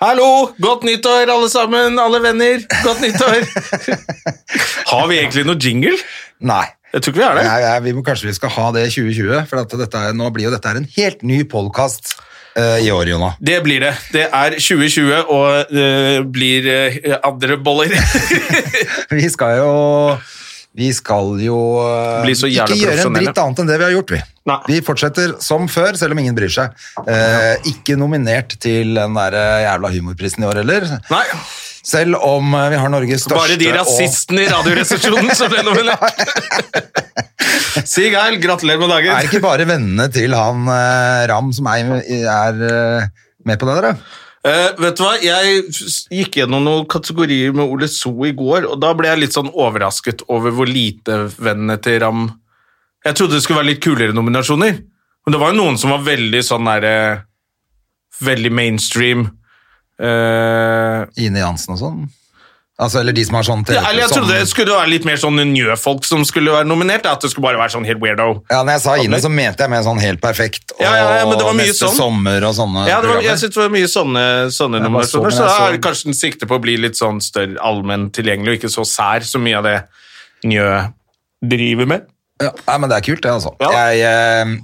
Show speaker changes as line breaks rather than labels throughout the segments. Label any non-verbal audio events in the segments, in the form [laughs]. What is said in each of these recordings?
Hallo! Godt nyttår, alle sammen, alle venner. Godt nyttår. [laughs] Har vi egentlig noe jingle?
Nei.
Jeg tror ikke vi har det.
Nei, nei, vi må, kanskje vi skal ha det i 2020, for at dette, er- nå blir jo dette her en helt ny podkast i år,
[laughs]
Jona.
Det blir det. Det er 2020 og det blir eh, andre [laughs] boller.
Vi skal jo Vi skal jo eh,
Bli så
ikke
jævlig
gjøre en
profesjonelle.
dritt annet enn det vi har gjort, vi.
Nei.
Vi fortsetter som før, selv om ingen bryr seg. Eh, ikke nominert til den der eh, jævla humorprisen i år heller.
Nei,
Selv om eh, vi har Norges største
bare de
og-
rasistene i Radioresepsjonen som ble [laughs] nominert. Sig Heil, gratulerer med
Er det
dagen.
ikke bare vennene til han eh, Ram som er, er eh, med på det, da?
Eh, vet du hva, jeg s- gikk gjennom noen kategorier med Ole So i går, og da ble jeg litt sånn overrasket over hvor lite vennene til Ram Jeg trodde det skulle være litt kulere nominasjoner, men det var jo noen som var veldig sånn derre Veldig mainstream. Eh,
Ine Jansen og sånn? Altså, eller de som har sånn
ja, eller jeg
sånn-
trodde det skulle være litt mer sånn njøfolk som skulle være nominert. At det skulle bare være sånn helt weirdo.
Ja, når jeg sa Ine, så mente jeg med sånn helt perfekt og
Ja, ja, ja, men det var mye
neste
sånn.
sommer og sånne
Ja, det var, jeg
programmer.
synes det var mye sånne, sånne
Jeg bare så,
nominasjoner,
men
så
jeg
da
så-
er det kanskje en sikte på å bli litt sånn større allmenn tilgjengelig, og ikke så sær som mye av det Njø driver med.
Ja, nei, men det er kult, det, altså.
Ja.
Jeg, eh,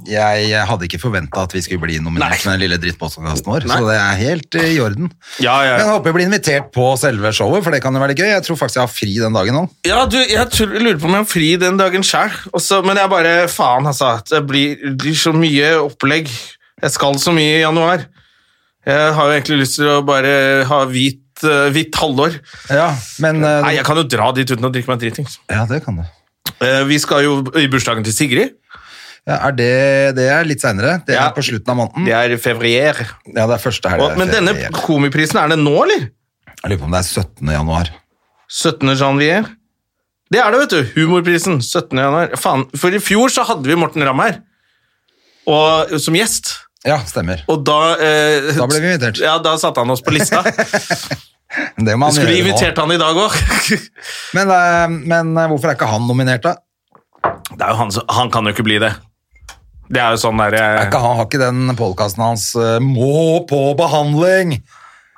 jeg hadde ikke forventa at vi skulle bli nominert med den lille drittpostkassen vår, så det er helt eh, i orden.
Ja, ja.
Men jeg håper jeg blir invitert på selve showet, for det kan jo være litt gøy. Jeg tror faktisk jeg har fri den dagen òg.
Ja, du, jeg tror- jeg lurer på om jeg har fri den dagen sjøl, men jeg bare Faen, altså. Det blir, blir så mye opplegg. Jeg skal så mye i januar. Jeg har jo egentlig lyst til å bare ha hvit, eh, hvitt halvår.
Ja, men eh,
Nei, jeg kan jo dra dit uten å drikke meg dritings.
Ja, det kan du.
Eh, Vi skal jo i bursdagen til Sigrid.
Ja, er det, det er litt seinere. Det er
Ja.
på slutten av måneden.
Det er fevrier.
Ja, det er første helg.
Og, men denne komiprisen, er det nå, eller?
Jeg lurer på om det er 17. januar.
17. janvier. Det er det, vet du. Humorprisen. 17. januar. Faen, for i fjor så hadde vi Morten Ramm her og, som gjest.
Ja, stemmer.
Og da eh,
Da ble vi invitert.
Ja, da satte han oss på
[laughs]
lista.
Det må han
Skulle
gjøre nå.
invitert han i dag òg.
Men, eh, men eh, hvorfor er ikke han nominert, da?
[laughs] Det er jo han som Han kan jo ikke bli det. Det er jo sånn derre
Er ikke, han har ikke den podkasten hans eh, 'Må på behandling'?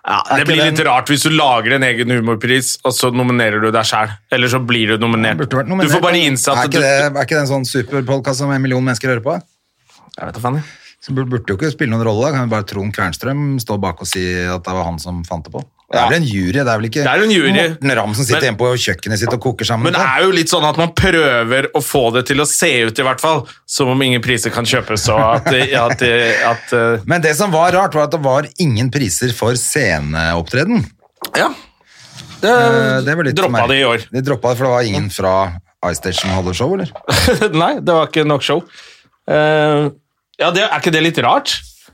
ja, Det
ikke
blir litt
den-
rart hvis du lager en egen humorpris, og så nominerer du deg sjæl. Eller så blir du nominert.
Burde vært
Du
nominert.
får bare innse
er
at
ikke,
du
det, er ikke det en sånn superpodkast som en million mennesker hører på?
Jeg vet da faen, jeg.
Så burde, burde jo ikke spille noen rolle. da. Kan jo bare Trond Kvernstrøm stå bak og si at det var han som fant det på? Det er vel en jury? Det er vel ikke
Det er en jury.
Morten Ramm som sitter
Men-
hjemme på kjøkkenet sitt og koker sammen?
Men det er jo litt sånn at man prøver å få det til å se ut, i hvert fall. Som om ingen priser kan kjøpes, og at, at, at, eh, at
men det som var rart, var at det var ingen priser for sceneopptreden.
Ja.
Eh, Det var litt
Droppa
merkelig.
det i år. [laughs]
De droppa det, for det var ingen fra iStation som hadde show, eller?
Nei, det var ikke nok show. Eh, ja, det, er ikke det litt rart?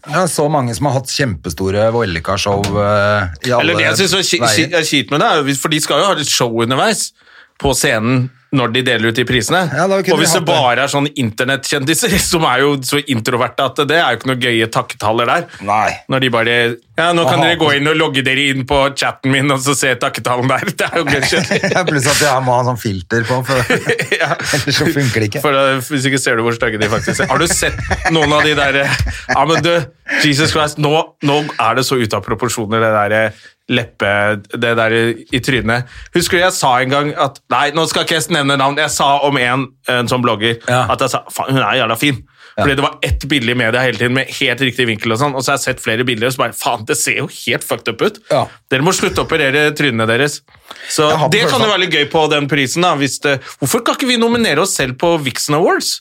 Ja, så mange som har hatt kjempestore vellykka-show eh, i alle
Eller det jeg synes er ki- ki-
veier.
er kjipt med det, er jo hvis- for de skal jo ha litt show underveis på scenen når de deler ut de prisene.
Ja, da kunne
og
vi
hvis
hatt
det bare er sånne internettkjendiser, [laughs] som er jo så introverte at det er jo ikke noen gøye takketaller der.
Nei.
Når de bare Ja, nå kan
Aha.
dere gå inn og logge dere inn på chatten min og så se takketalen der. [laughs] Det er
[laughs]
jo gøy.
Pluss at jeg må ha sånn filter på, for
[laughs] Ja.
ellers så funker det ikke.
For da, hvis ikke ser du hvor stygge de faktisk er. Har du sett noen av de derre Ja, men du, Jesus Christ, nå, nå er det så ute av proporsjoner, det derre leppe Det der i trynet. Husker du jeg sa en gang at Nei, nå skal ikke jeg nevne navn. Jeg sa om en, en sånn blogger
Ja.
at jeg sa faen, hun er jævla fin. Fordi det var ett bilde i media hele tiden med helt riktig vinkel, og sånn, og så har jeg sett flere bilder, og så bare faen, det ser jo helt fucked up ut.
Ja.
Dere må slutte å operere trynene deres. Så
Jeg har på
det kan
følelsen-
jo være litt gøy på den prisen. da, hvis det, Hvorfor kan ikke vi nominere oss selv på Vixen Awards?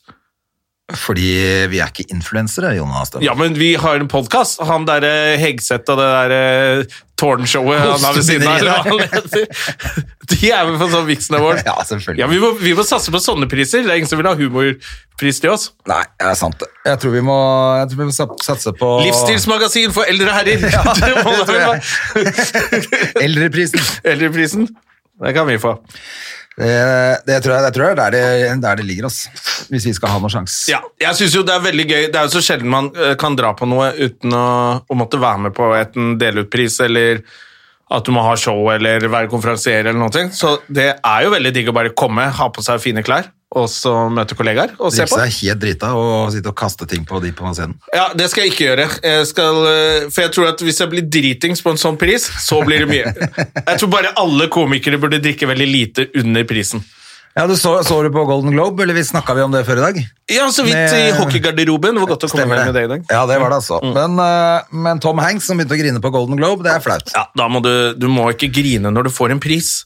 Fordi vi er ikke influensere, Jonas.
Ja, men vi har en podkast. Han derre Hegseth og det derre tårnshowet han har ved siden av. eller [laughs] hva han heter. De er vel på sånn Vixen Award.
Ja, selvfølgelig.
Ja, vi, må, vi må satse på sånne priser. Det er ingen som vil ha humorpris til oss.
Nei, det er sant. det. Jeg tror vi må, jeg tror vi må sat- satse på
Livsstilsmagasin for eldre herrer! [laughs] det
det
må da vel
tror
være.
Eldreprisen.
Eldreprisen. Det kan vi få.
Det, det tror jeg, jeg tror det er der det, der det ligger, ass. Hvis vi skal ha noen sjanse.
Ja, jeg synes jo Det er veldig gøy. Det er jo så sjelden man eh, kan dra på noe uten å, å måtte være med på enten dele ut pris eller at du må ha show eller være konferansier. eller noe. Så det er jo veldig digg å bare komme, ha på seg fine klær og så møte kollegaer og se
Drikke
på.
seg helt drita og sitte og kaste ting på de på scenen.
Ja, Det skal jeg ikke gjøre. Jeg skal, eh, for jeg tror at Hvis jeg blir dritings på en sånn pris, så blir det mye.
[laughs]
Jeg tror bare alle komikere burde drikke veldig lite under prisen.
Ja, du så, så du på Golden Globe, eller vi snakka vi om det før i dag?
Ja, så vidt
Med-
i hockeygarderoben. Hvor godt å komme
Stemmer
hjem med det i
Eh,
dag. Mm.
Ja, det var det altså. Men, eh, men Tom Hanks som begynte å grine på Golden Globe, det er flaut.
Ja, da må du, du må ikke grine når du får en pris.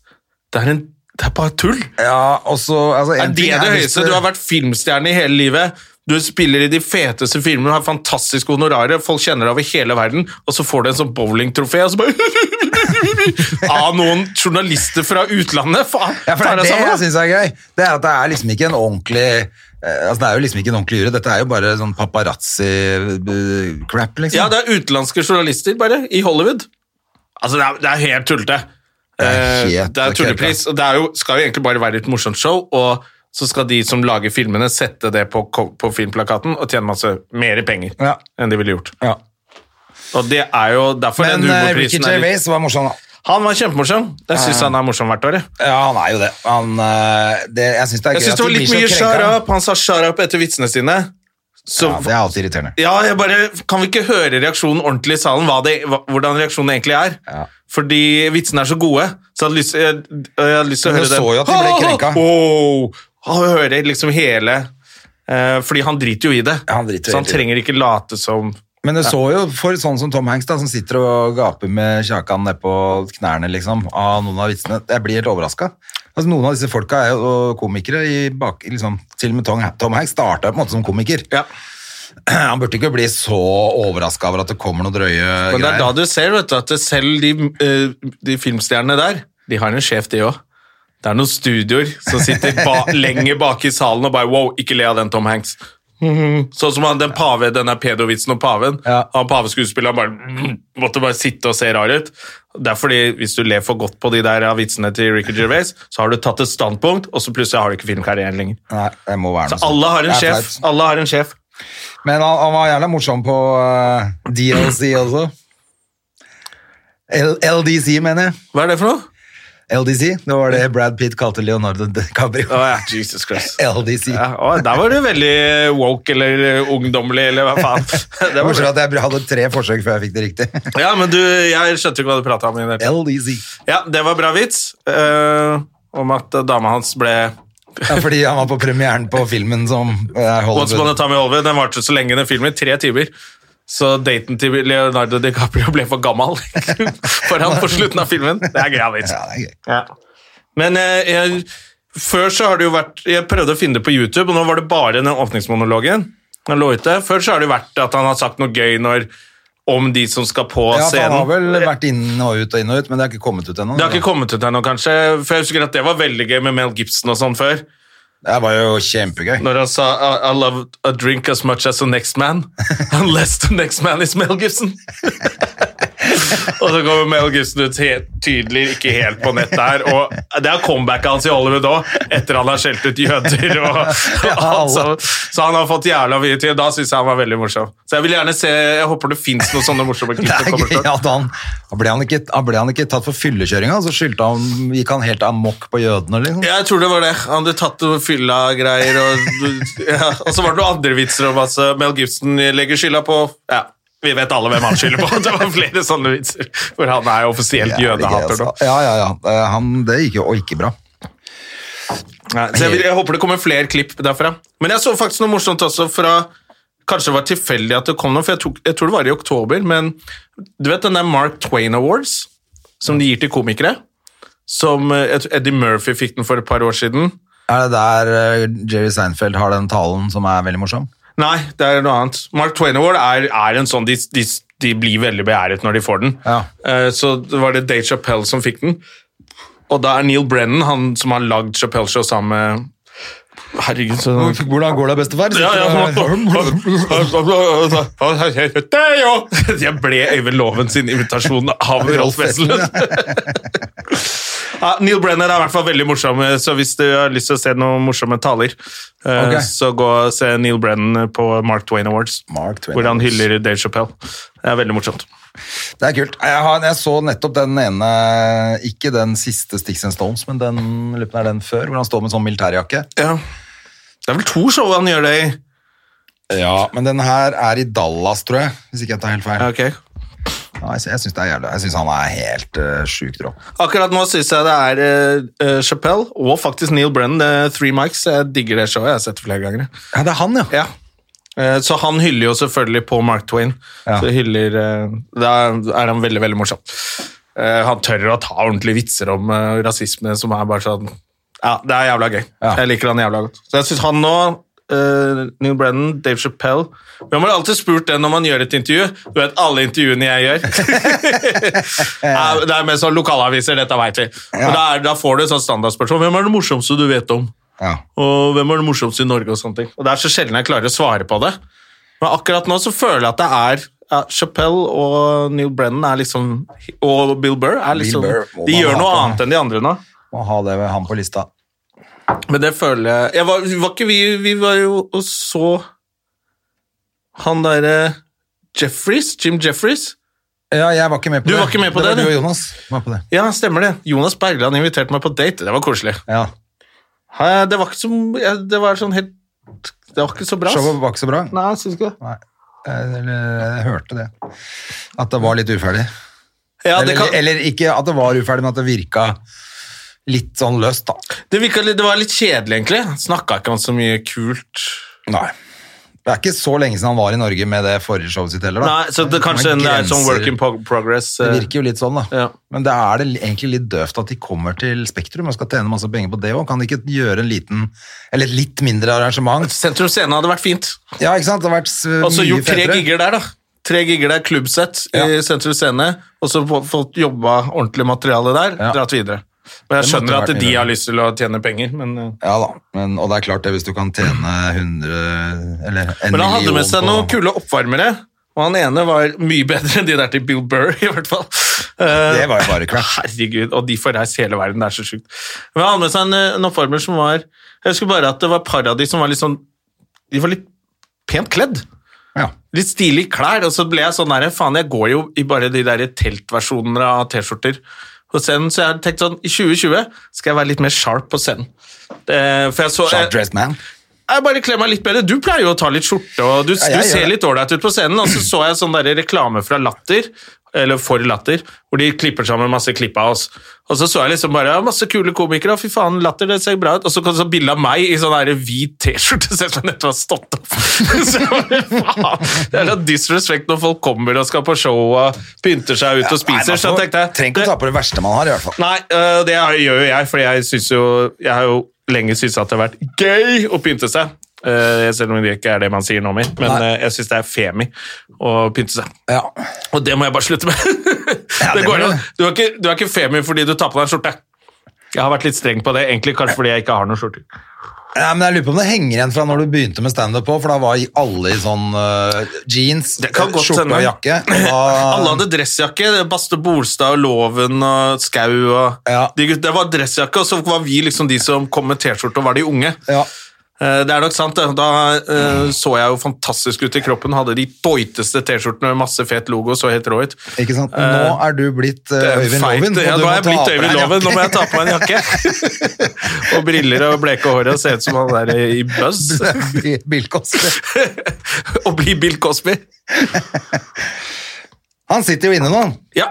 Det er, en, det er bare tull.
Ja, og så altså,
Er
en
det
ting
det
hvis
høyeste? Du har vært filmstjerne i hele livet. Du spiller i de feteste filmene, du har fantastiske honorarer, folk kjenner deg over hele verden, og så får du en sånn bowlingtrofé, og så bare [laughs] Av noen journalister fra utlandet! Faen!
Ja, for
tar
det er
deg
det
sammen, da.
jeg syns er gøy. Det er at det er liksom ikke en ordentlig eh, Altså, det er jo liksom ikke en ordentlig jury. Dette er jo bare sånn paparazzi-crap, liksom.
Ja, det er utenlandske journalister, bare, i Hollywood. Altså, det er, det er helt tullete.
Det er
Eh,
helt
det er tullepris, og det er jo, skal jo egentlig bare være et morsomt show, og så skal de som lager filmene sette det på, ko- på filmplakaten og tjene masse mer penger
Ja.
enn de ville gjort.
Ja.
Og det er jo derfor
Men
den
eh, Ricky
humorprisen er litt...
Gervais var morsom, da.
Han var kjempemorsom. Jeg syns han er morsom hvert år. jeg.
Ja, han er jo det. Han eh, det, Jeg syns det er
Jeg
gøy
syns det var
de
litt
blir
mye
så
shut
krenka.
up. Han sa shut up etter vitsene sine. Så
Ja, det er alltid irriterende.
Ja, jeg bare, kan vi ikke høre reaksjonen ordentlig i salen, hva det, hva, hvordan reaksjonen egentlig er?
Ja.
Fordi vitsene er så gode, så jeg hadde lyst, jeg, jeg hadde lyst til å
Men
høre
du
det.
så jo at de ble krenka.
Åh, han hører liksom hele, eh, fordi han driter jo i det.
Ja, han driter jo
så han
helt i det.
trenger ikke late som...
Men du så jo for sånn som Tom Hanks, da, som sitter og gaper med kjakan nedpå knærne liksom, av noen av vitsene. Jeg blir helt overraska. Altså, noen av disse folka er jo komikere. I bak, liksom, til og med Tom, Tom Hanks starta på en måte som komiker.
Ja.
Han burde ikke bli så overraska over at det kommer noen drøye
Men det er da
greier.
du ser, vet du, at det selv de, eh, de filmstjernene der, de har en sjef de også. Det er noen studioer som sitter ba [laughs] lenger bak i salen og bare, wow, ikke le av den Tom Hanks. Sånn som han, den pave, denne pedovitsen om paven.
Ja.
Han paveskuespilleren bare, mm, måtte bare sitte og se rar ut. Det er fordi hvis du ler for godt på de der av vitsene til Ricky Gervais, så har du tatt et standpunkt, og så plutselig har du ikke filmkarrieren lenger.
Nei, det må være noe
Så
sånt.
alle har en
Det er
sjef.
flaut.
Alle har en sjef.
Men han, han var jævla morsom på eh, DLC også. L LDC, mener jeg.
Hva er det for noe?
LDC, det var det Brad Pitt kalte Leonardo DiCaprio.
Å ja, Jesus Christ.
LDC.
Ja, å, der var du veldig woke eller ungdommelig, eller hva faen.
[laughs]
Det
Det var
var
sånn at jeg hadde tre forsøk før jeg fikk det
[laughs]
riktig.
ja, men du, jeg skjønte ikke hva du prata om. i det hele tatt.
LDC.
Ja, det var bra vits eh, om at dama hans ble
Ja, fordi han var på premieren på filmen som er
Once upon a
Hollywood.
time in Hollywood. Den varte så lenge, den filmen. Tre timer. Så daten til Leonardo DiCaprio ble for gammel [laughs] for han på slutten av filmen. Det er gøy vits.
Ja, det er gøy.
Ja. Men eh, jeg, før så har det jo vært Jeg prøvde å finne det på YouTube, og nå var det bare den åpningsmonologen. Han lå ute. Før så har det jo vært at han har sagt noe gøy når, om de som skal på
Ja, for han
scenen.
har vel vært inn og ut og inn og ut, men det har ikke kommet ut ennå.
Det har ikke kommet ut ennå, kanskje. For jeg husker at Det var veldig gøy med Mel Gibson og sånn før.
Det var jo kjempegøy.
Når han sa I, I love a drink as much as the next man, unless the next man is Mel Gibson. [laughs] og så kommer Mel Gibson ut helt tydelig ikke helt på nett der. Og det er comebacket hans i Hollywood òg, etter han har skjelt ut jøder. Og,
Ja, alle.
så, så han har fått jævla mye til. Da syns jeg han var veldig morsom. Så jeg vil gjerne se Jeg håper det fins noen sånne morsomme klipp.
Det
som
er
kommer
gøy
til.
at han, han, ble han, ikke, han ble han ikke tatt for fyllekjøringa, så skyldte han, gikk han helt amok på jødene. Liksom.
Jeg tror det var det. Han hadde tatt noen fylla-greier. Og, ja. og så var det noen andre vitser om at eh, Mel Gibson legger skylda på Ja, vi vet alle hvem han skylder på. [laughs] Det var flere sånne vitser. For han er jo offisielt
Jævlig gøy,
jødehater nå.
altså. Ja, ja, ja. Eh, Han, det gikk jo og ikke bra.
Nei, Så jeg, vil- jeg håper det kommer flere klipp derfra. Men jeg så faktisk noe morsomt også fra Kanskje det var tilfeldig at det kom noe, for jeg, tok, jeg tror det var i oktober, men du vet den der Mark Twain Awards, som de gir til komikere? Som eh, jeg tror Eddie Murphy fikk den for et par år siden.
Er det der eh, Jerry Seinfeld har den talen som er veldig morsom?
Nei, det er noe annet. Mark Twain Award er, er en sånn de, de, de blir veldig beæret når de får den.
Ja.
Eh, så det var det Dave Chappelle som fikk den. Og da er Neil Brennan, han som har lagd Chappelle Show sammen med Herregud, så
Hvordan går det, bestefar?
ja, ja. [laughs] Jeg ble Øyvind Loven sin invitasjon av Rolf Wesselund. Ja, Neil Brenner er i hvert fall veldig morsom, så hvis du har lyst til å se noen morsomme taler, eh,
Ok.
så gå og se Neil Brennan på Mark Twain Awards,
Mark Twain
hvor han
Awards.
hyller Dave Chappelle. Det er veldig morsomt.
Det er kult. Jeg, har, jeg så nettopp den ene, ikke den siste Sticks and Stones, men den, lurer på om det er den før, hvor han står med sånn militærjakke.
Ja. Det er vel to show han gjør det i.
Ja. Men den her er i Dallas, tror jeg, hvis ikke jeg tar helt feil.
Ja, ok.
Ja, jeg sy- jeg syns det er jævlig. Jeg syns han er helt uh, sjukt rå.
Akkurat nå syns jeg det er eh, eh, Chappelle og faktisk Neil Brennan, eh, Three Mics. Jeg digger det showet. Jeg har sett det flere ganger. jeg.
Ja, det er han, ja.
Ja. Eh, Så han hyller jo selvfølgelig på Mark Twain.
Ja.
Så hyller, eh, Da er han veldig, veldig morsom. Eh, Han tør å ta ordentlige vitser om eh, rasisme som er bare sånn Ja, det er jævla gøy.
Ja.
Jeg liker han jævla godt. Så jeg syns han nå eh, Neil Brennan, Dave Chappelle Hvem har alltid spurt det når man gjør et intervju? Du vet alle intervjuene jeg gjør.
[laughs]
[laughs] Ja, det er med sånn lokalaviser, dette veit vi. Og da, er, da får du et sånt standardspørsmål. Hvem er det morsomste du vet om?
ja.
og hvem er det morsomste i Norge og sånne ting. Og det er så sjelden jeg klarer å svare på det. Men akkurat nå så føler jeg at det er ja, Chappelle og Neil Brennan er liksom, og Bill Burr er liksom
Burr må
De
man
gjør
ha
noe
på.
annet enn de andre nå.
Må ha det med han på lista.
Men det føler jeg, jeg var, var ikke vi Vi var jo og så han derre Jeffries, Jim Jeffries.
Ja, jeg var ikke med på
Du
det.
var ikke med på det,
var
du?
du og Jonas. Var på det.
Ja, stemmer det. Jonas Bergland inviterte meg på date. Det var koselig.
Ja.
Hæ, Det var ikke så, ja, det var sånn helt, det var ikke så bra. ass.
Showet var ikke så bra.
Nei, jeg synes ikke det.
Nei. Jeg, eller, jeg hørte det. At det var litt uferdig.
Ja, det
eller,
kan-
eller ikke at det var uferdig, men at det virka litt sånn løst, da.
Det, virka, litt- det var litt kjedelig, egentlig. Snakka ikke om så mye kult.
Nei. Det er ikke så lenge siden han var i Norge med det forrige showet sitt heller, da.
Nei, så det, Kanskje det er sånn work in prog- progress.
Det
eh.
virker jo litt sånn, da.
Ja.
Men det er det egentlig litt døvt at de kommer til Spektrum og skal tjene masse penger på det òg. Kan de ikke gjøre en liten, eller et litt mindre arrangement?
Sentrum Scene hadde vært fint.
Ja, ikke sant? Det har vært s-
Og så
mye
gjort tre
fetere.
gigger der, da. Tre gigger der, klubbsett i
Ja.
Sentrum Scene. Og så få- fått jobba ordentlig materiale der,
Ja.
dratt videre. Men jeg
Det måtte
skjønner at
vært
de
mye.
har lyst til å tjene penger, men eh.
Ja da, men, og det er klart det hvis du kan tjene 100 eller en
Men han hadde
million
med seg
på-
noen kule oppvarmere. Og han ene var mye bedre enn de der til Bill Burr, [laughs] i hvert fall. Eh,
Det var jo bare crap.
Herregud, og de får reist hele verden, det er så sjukt. Men han hadde med seg en, eh, en oppvarmer som var Jeg husker bare at det var Paradis som var litt sånn De var litt pent kledd.
Ja.
Litt stilige klær. Og så ble jeg sånn der Faen, jeg går jo i bare de der teltversjonene av T-skjorter på scenen, så jeg tenkte sånn I 2020 skal jeg være litt mer sharp på scenen. Eh, for jeg så
Sharp
jeg-
dressed man.
jeg bare kler meg litt bedre. Du pleier jo å ta litt skjorte, og du,
jeg
du
gjør
ser
det.
litt ålreit ut på scenen. Og så så jeg sånn der reklame fra Latter, eller for Latter, hvor de klipper sammen masse klipp av oss. Og så så jeg liksom bare ja, masse kule komikere, og fy faen, Latter, det ser bra ut. Og så kom det sånn bilde av meg i sånn der hvit T-skjorte, [laughs] ser ut som jeg nettopp har stått opp. [laughs] så jeg bare, faen, Det er da disrespect når folk kommer og skal på show og pynter seg ut og spiser.
Nei,
så
man får-
tenkte jeg
Trenger ikke å ta på det verste man har, i hvert fall.
Nei, øh, det har- gjør jo jeg, for jeg, synes jo, jeg har jo lenge syntes at det har vært gøy å pynte seg. Eh, selv om det ikke er det man sier nå mer, men
Nei.
eh, jeg syns det er femi å pynte seg.
Ja.
Og det må jeg bare slutte med! [laughs]
Ja,
det
det
går
må
jo.
du.
Du, er ikke, du er ikke femi fordi du tar på deg en skjorte. Jeg har vært litt streng på det, egentlig kanskje fordi jeg ikke har noen skjorter.
ja, men jeg lurer på om det henger igjen fra når du begynte med standup òg, for da var i alle i sånn øh, jeans,
Det kan godt
skjorte
hende.
og
[clears throat]
jakke. og da-
Alle hadde dressjakke. det var Baste Bolstad og Loven og Skau og
Ja.
de gutta- Det var dressjakke, og så var vi liksom de som kom med T-skjorte og var de unge.
Ja.
Eh, Det er nok sant. det. Da eh, så jeg jo fantastisk ut i kroppen. Hadde de doiteste T-skjortene med masse fet logo. Så helt rå ut.
Ikke sant?
Eh,
Nå er du blitt øh, Øyvind
Feit.
Loven. og
Ja,
du
nå
må
er jeg
ta av
blitt
deg
Øyvind
en
Loven. Nå
jakke.
må jeg ta på meg en jakke.
[laughs]
og briller og bleke håret og se ut som han der i Buzz.
[laughs]
[laughs]
Bill- Bill Cosby.
og bli Bill Cosby.
Han sitter jo inne nå.
Ja.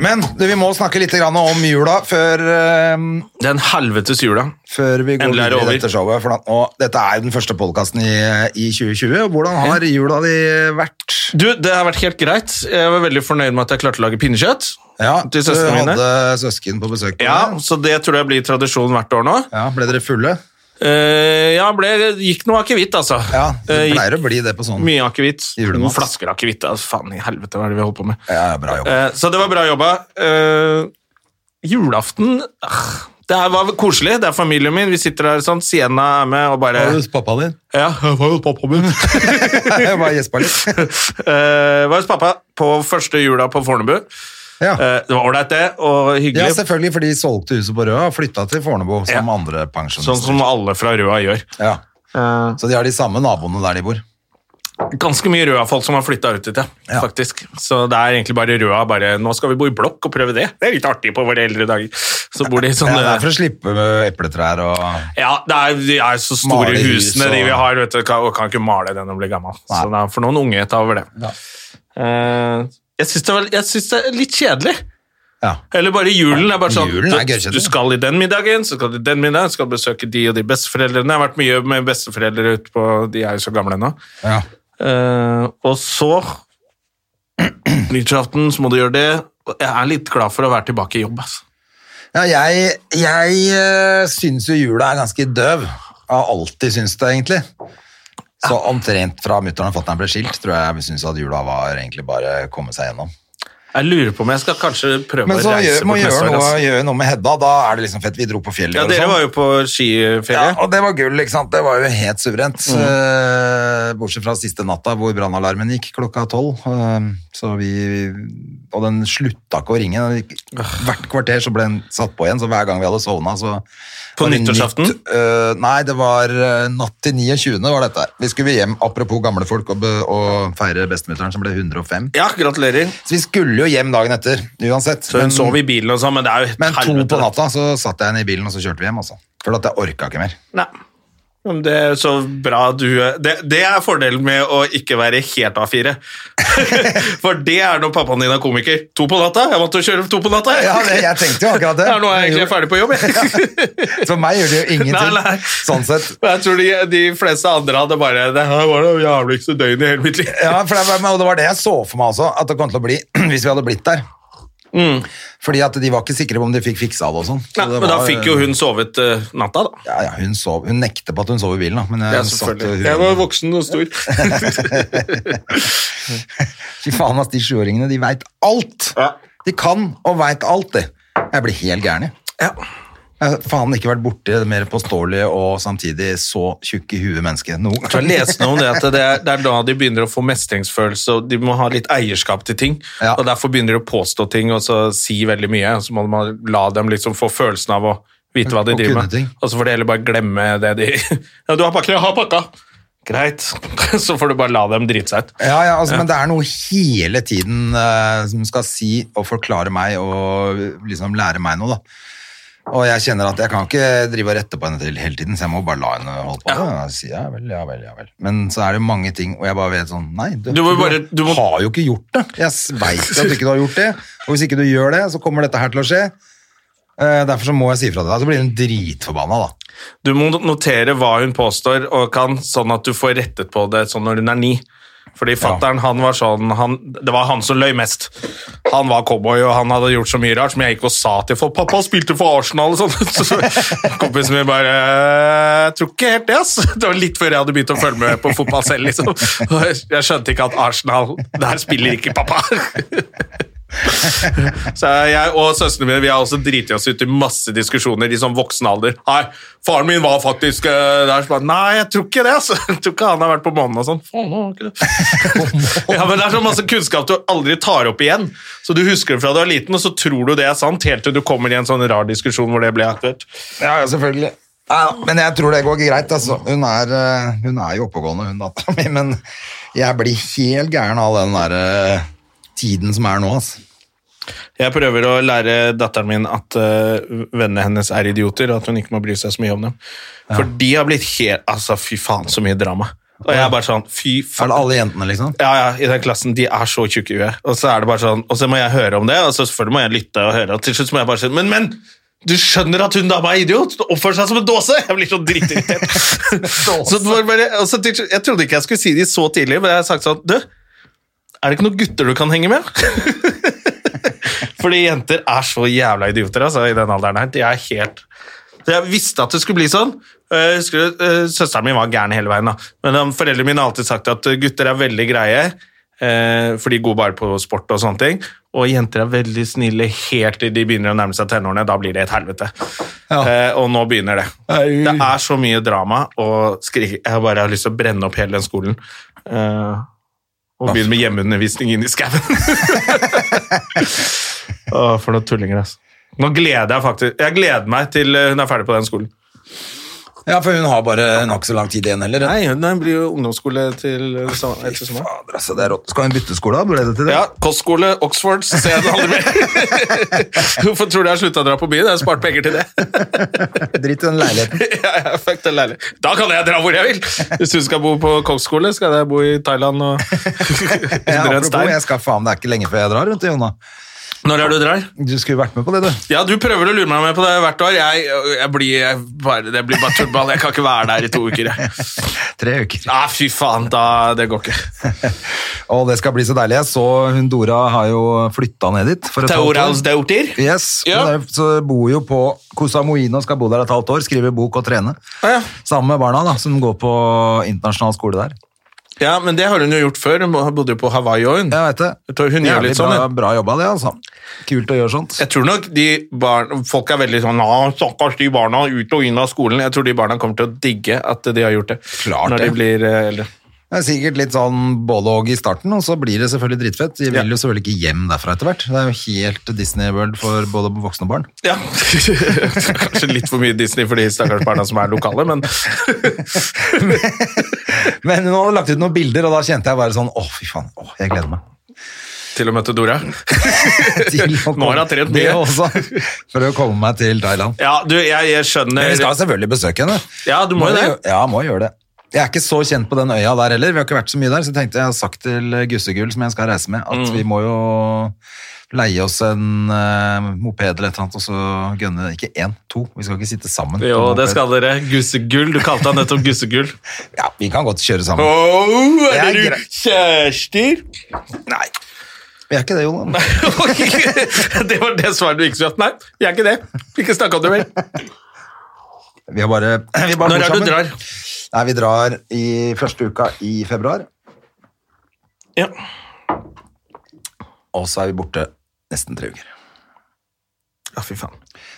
Men du, vi må snakke litt grann om jula før øh,
Den helvetes jula.
før vi går
Endelig er det
videre i
over.
dette showet. For da, og dette er jo den første podkasten i, i 2020. og Hvordan har jula di vært?
Du, det har vært helt greit. Jeg var veldig fornøyd med at jeg klarte å lage pinnekjøtt.
Ja,
Til søstrene
Du
mine.
hadde søsken på besøk. på
Ja,
det.
Så det tror jeg blir tradisjon hvert år nå.
ja, Ble dere fulle?
Eh, ja, ble, gikk noe akevitt, altså.
Ja, det
Eh, gikk
pleier å bli det på sånn.
Mye akevitt.
Julemat.
Noen flasker akevitt. Altså, faen i helvete, hva er det vi holder på med?
Ja, bra jobb.
Eh, så det var bra jobba. Eh, julaften ah, Det her var koselig. Det er familien min. Vi sitter der sånn. Sienna er med og bare
pappaen din?
Ja, jeg var hos pappa min.
[laughs] Jeg bare gjespa
[laughs]
litt.
Eh, var hos pappa på første jula på Fornebu.
Ja.
Eh, det var ålreit, det, og
ja,
hyggelig.
selvfølgelig, for de solgte huset på Røa og flytta til Fornebu, som
Ja.
andre
sånn
pensjonister.
som Eh. alle fra Røa gjør.
Ja. Så de har de samme naboene der de bor.
Sånn, Ganske mye Røa-folk som har flytta ut dit, ja.
Ja.
faktisk. Så det er egentlig bare Røa bare Nå skal vi bo i blokk og prøve det. Det er litt artig på våre eldre dager. Så bor de sånn
Ja, det
eh,
er for å slippe med epletrær og
Ja, det er, de er så store
Male hus
husene de
og-
vi har, vet du, kan, og kan ikke male det når de blir gammel. Så det er for noen unge ta over det. Eh, jeg syns det, var- jeg syns det er litt kjedelig.
ja.
Eller bare julen. Det er bare sånn,
Julen er
du,
gøykjedelig.
du skal i den middagen, så skal du i den middagen, skal besøke de og de besteforeldrene. Jeg har vært mye med besteforeldre ute på De er jo så gamle nå.
ja.
Eh, og så [clears throat] Nyttårsaften, så må du gjøre det. Jeg er litt glad for å være tilbake i jobb. Altså.
ja jeg jeg eh, syns jo jula er ganske døv. Jeg har alltid syntes det, egentlig. Så omtrent fra mutter'n og fatter'n ble skilt, tror jeg vi syntes at jula var egentlig bare å komme seg gjennom.
Jeg lurer på om jeg skal kanskje prøve
Men så
å
gjør,
reise
må
bort neste
gjøre
år.
noe,
Altså.
gjøre noe med Hedda. Da er det liksom fett. Vi dro på fjellet.
Ja,
og
dere
sånn.
var jo på skiferie.
Ja, og det var gull, ikke sant? Det var jo helt suverent.
Mm.
Eh, bortsett fra siste natta hvor brannalarmen gikk klokka tolv. eh, så vi Og den slutta ikke å ringe. Den gikk- Hvert kvarter så ble den satt på igjen, så hver gang vi hadde sovna, så
På
var det
nyttårsaften?
nytt, eh, nei, det var eh, natt til 29. var dette her. Vi skulle hjem, apropos gamle folk, og, be- og feire bestemutteren som ble 105.
Ja, gratulerer.
Så vi skulle jo hjem dagen etter, uansett.
Så hun
Men-
sov i bilen og sånn, men det er jo et
men to
helvete,
på
da.
natta så satt jeg henne i bilen, og så kjørte vi hjem, altså. For at jeg orka ikke mer.
Nei. Men Det er så bra du det, det er fordelen med å ikke være helt A4. [laughs] For det er når pappaen din er komiker. To på natta? Jeg måtte kjøre to på natta. jeg.
Ja, det, jeg tenkte jo akkurat det.
[laughs] Ja, nå er jeg egentlig ferdig på jobb. jeg.
For meg gjør det jo ingenting.
[laughs] Nei, nei.
Sånn sett.
Men [laughs] Jeg tror de, de fleste andre hadde bare Det her var det jævligste døgnet i hele mitt liv.
Ja, for det, var- og det var det jeg så for meg også, at det kom til å bli [clears throat] hvis vi hadde blitt der. Fordi at de var ikke sikre på om de fikk fiksa det og sånn. Så
[laughs] Mm. Nei,
det
men da
var-
fikk jo hun sovet eh, natta, da.
Ja, ja, hun, sov, hun nekter på at hun sov i bilen, da. Men jeg,
Ja,
satt jo
selvfølgelig. Jeg var
hun,
voksen og stor.
[laughs]
[laughs]
Fy faen, ass, de sjuåringene, de veit alt!
Ja.
De kan og veit alt, de. Jeg blir helt gæren, jeg.
Ja.
Jeg har faen ikke vært borti det mer påståelige og samtidig så tjukk i huet menneske noen gang.
Jeg leste noe om det at det er, det er da de begynner å få mestringsfølelse, og de må ha litt eierskap til ting.
Ja.
Og derfor begynner de å påstå ting og så si veldig mye. og Så må man la dem liksom få følelsen av å vite hva de
Og
driver
kunne
med.
ting.
Og så får de heller bare glemme det de [laughs] Ja, du har pakka, jeg har pakka! Greit. [laughs] Så får du bare la dem drite seg ut.
[laughs] Ja, ja, altså, men det er noe hele tiden eh, som skal si og forklare meg og liksom lære meg noe, da. Og jeg kjenner at jeg kan ikke drive og rette på henne til hele tiden, så jeg må bare la henne holde på. Ja. Si, ja vel, ja vel, ja vel. Men så er det mange ting, og jeg bare vet sånn, nei, du,
Du må bare- du må-
har jo ikke gjort det. Jeg vet at du ikke har gjort det, og hvis ikke du gjør det, så kommer dette her til å skje. Eh, Derfor så må jeg si fra til deg, så blir hun dritforbanna, da.
Du må notere hva hun påstår og kan, sånn at du får rettet på det sånn når hun er ni. Fordi fatteren, han var sånn, han, det var han som løy mest. Han var cowboy, og han hadde gjort så mye rart som jeg gikk og sa til folk. Pappa spilte for Arsenal og sånn. [laughs] Så kompisen min bare, «Eh, jeg tror ikke helt det, ass. Det var litt før jeg hadde begynt å følge med på fotball selv, liksom. Og jeg- Jeg skjønte ikke at Arsenal, der spiller ikke pappa. Så jeg og søstrene mine vi har også driti oss ut i masse diskusjoner i sånn voksen alder. Nei, faren min var faktisk eh, der. Så bare, Nei, jeg tror ikke det. Altså. [laughs] Jeg tror ikke han har vært på månen og sånn. Faen, han har ikke det. [laughs] ja, men det er så masse kunnskap du aldri tar opp igjen. Så du husker det fra du er liten, og så tror du det er sant, helt til du kommer i en sånn rar diskusjon hvor det ble aktuelt.
Ja, ja, selvfølgelig. Ja, ja, men jeg tror det går greit, altså. Hun er, eh, hun er jo oppegående, hun dattera mi, men jeg blir helt gæren av den der eh, tiden som er nå, altså.
Jeg prøver å lære datteren min at eh, vennene hennes er idioter, og at hun ikke må bry seg så mye om dem. For de har blitt helt Altså, fy faen, så mye drama. Og jeg er bare sånn, fy
Er
faen.
det alle jentene, liksom?
Ja, ja, i den klassen, de er så tjukke i huet. Og så er det bare sånn, og så må jeg høre om det, og så selvfølgelig må jeg lytte og høre, og til slutt så må jeg bare si, men, men, du skjønner at hun dama er idiot, du oppfører seg som en dåse, jeg blir så drittirritert. så det var bare, og så til slutt, jeg trodde ikke jeg skulle si det så tidlig, men jeg har sagt sånn, du, er det ikke noen gutter du kan henge med? [laughs] Fordi jenter er så jævla idioter, altså, i den alderen her, de er helt... Så jeg visste at det skulle bli sånn. Eh, Jeg husker, eh, søsteren min var gæren hele veien, da. men um, foreldrene mine har alltid sagt at eh, gutter er veldig greie, eh, for de går bare på sport og sånne ting. Og jenter er veldig snille helt til de begynner å nærme seg tenårene. Da blir det et helvete.
Ja.
Eh, og nå begynner det.
Nei.
Det er så mye drama og skrik. Jeg bare har lyst til å brenne opp hele den skolen. Eh, og begynne med hjemmeundervisning inn i [laughs] skauen. Åh, for noen tullinger, altså. Nå gleder jeg faktisk Jeg gleder meg til eh, hun er ferdig på den skolen.
Ja, for hun har bare nok så lang tid igjen, heller.
Nei, hun blir jo ungdomsskole til eh, etter sommeren.
Fader, altså, det er rått. Skal hun bytte skole, da? Ble det til det?
Ja, kostskole, Oxford, så ser jeg den aldri [laughs] mer. Hvorfor tror du jeg har slutta å dra på byen? Jeg har spart penger til det.
Drit i den leiligheten.
ja, ja, fuck den leiligheten. Da kan jeg dra hvor jeg vil! Hvis du skal bo på kokkskole, skal jeg bo i Thailand og [laughs]
Ja,
[laughs] under en
apropos,
stein.
jeg skal faen, det er ikke lenge før jeg drar, vet du, Jonna.
Når er det du drar?
Du skulle vært med på det, du.
Ja, du prøver å lure meg med på det hvert år. Jeg, jeg blir jeg bare, det blir bare tullball. Jeg [laughs] kan ikke være der i to uker. Jeg.
[laughs] Tre uker.
Nei, fy faen, da, det går ikke.
Og det skal bli så deilig. Jeg så hun Dora har jo flytta ned dit. For et halvt år.
Tauralsdaughter?
Yes,
Ja.
hun er, så bor jo på Kosamoino, skal bo der et halvt år, skrive bok og trene.
Ah, Ja.
Sammen med barna da, som går på internasjonal skole der.
Ja, men det har hun jo gjort før. Hun bodde jo på Hawaii òg, hun.
Jeg vet det.
Jeg tror hun gjør
Jævlig
litt sånn,
bra,
hun.
bra jobba det, altså. Kult å gjøre sånt.
Jeg tror nok de barn, Folk er veldig sånn «Å, Stakkars de barna, ut og inn av skolen. Jeg tror de barna kommer til å digge at de har gjort det.
Klart
når
det.
de blir eh, eldre.
Det er sikkert litt sånn både og i starten, og så blir det selvfølgelig dritfett. De vil
Ja.
jo selvfølgelig ikke hjem derfra etter hvert. Det er jo helt Disney World for både voksne og barn.
Ja. [laughs] Kanskje litt for mye Disney for de stakkars barna som er lokale, men [laughs]
Men hun hadde lagt ut noen bilder, og da kjente jeg bare sånn, åh fy faen, åh, jeg gleder
[laughs]
meg.
til å møte Dora.
Til å
Nå har jeg trent mye.
Det også, for å komme meg til Thailand.
Ja, du, jeg, jeg
Men
skjønner
vi skal selvfølgelig besøke henne.
Ja, du må jo det.
Ja, må gjøre det. Jeg er ikke så kjent på den øya der heller, vi har ikke vært så mye der, så jeg tenkte jeg har sagt til Gussegull, som jeg skal reise med,
Mm.
at vi må jo leie oss en eh, moped eller et eller annet, og så gønne, ikke en, to, vi skal ikke sitte sammen. på
Jo,
moped.
det skal dere. Gussegull. Du kalte han nettopp Gussegull.
Ja, vi kan godt kjøre sammen.
Oh,
er
dere
greit.
kjærester?
Nei. Vi er ikke det, Jonan.
[laughs] det var det svaret du ikke skulle hatt. Nei, vi er ikke det. Vi ikke snakke om det mer.
Vi har bare, vi bare
Når
bor
er det
sammen.
du drar?
Nei, vi drar i første uka i februar,
Ja.
og så er vi borte nesten tre uker.
ja, fy faen.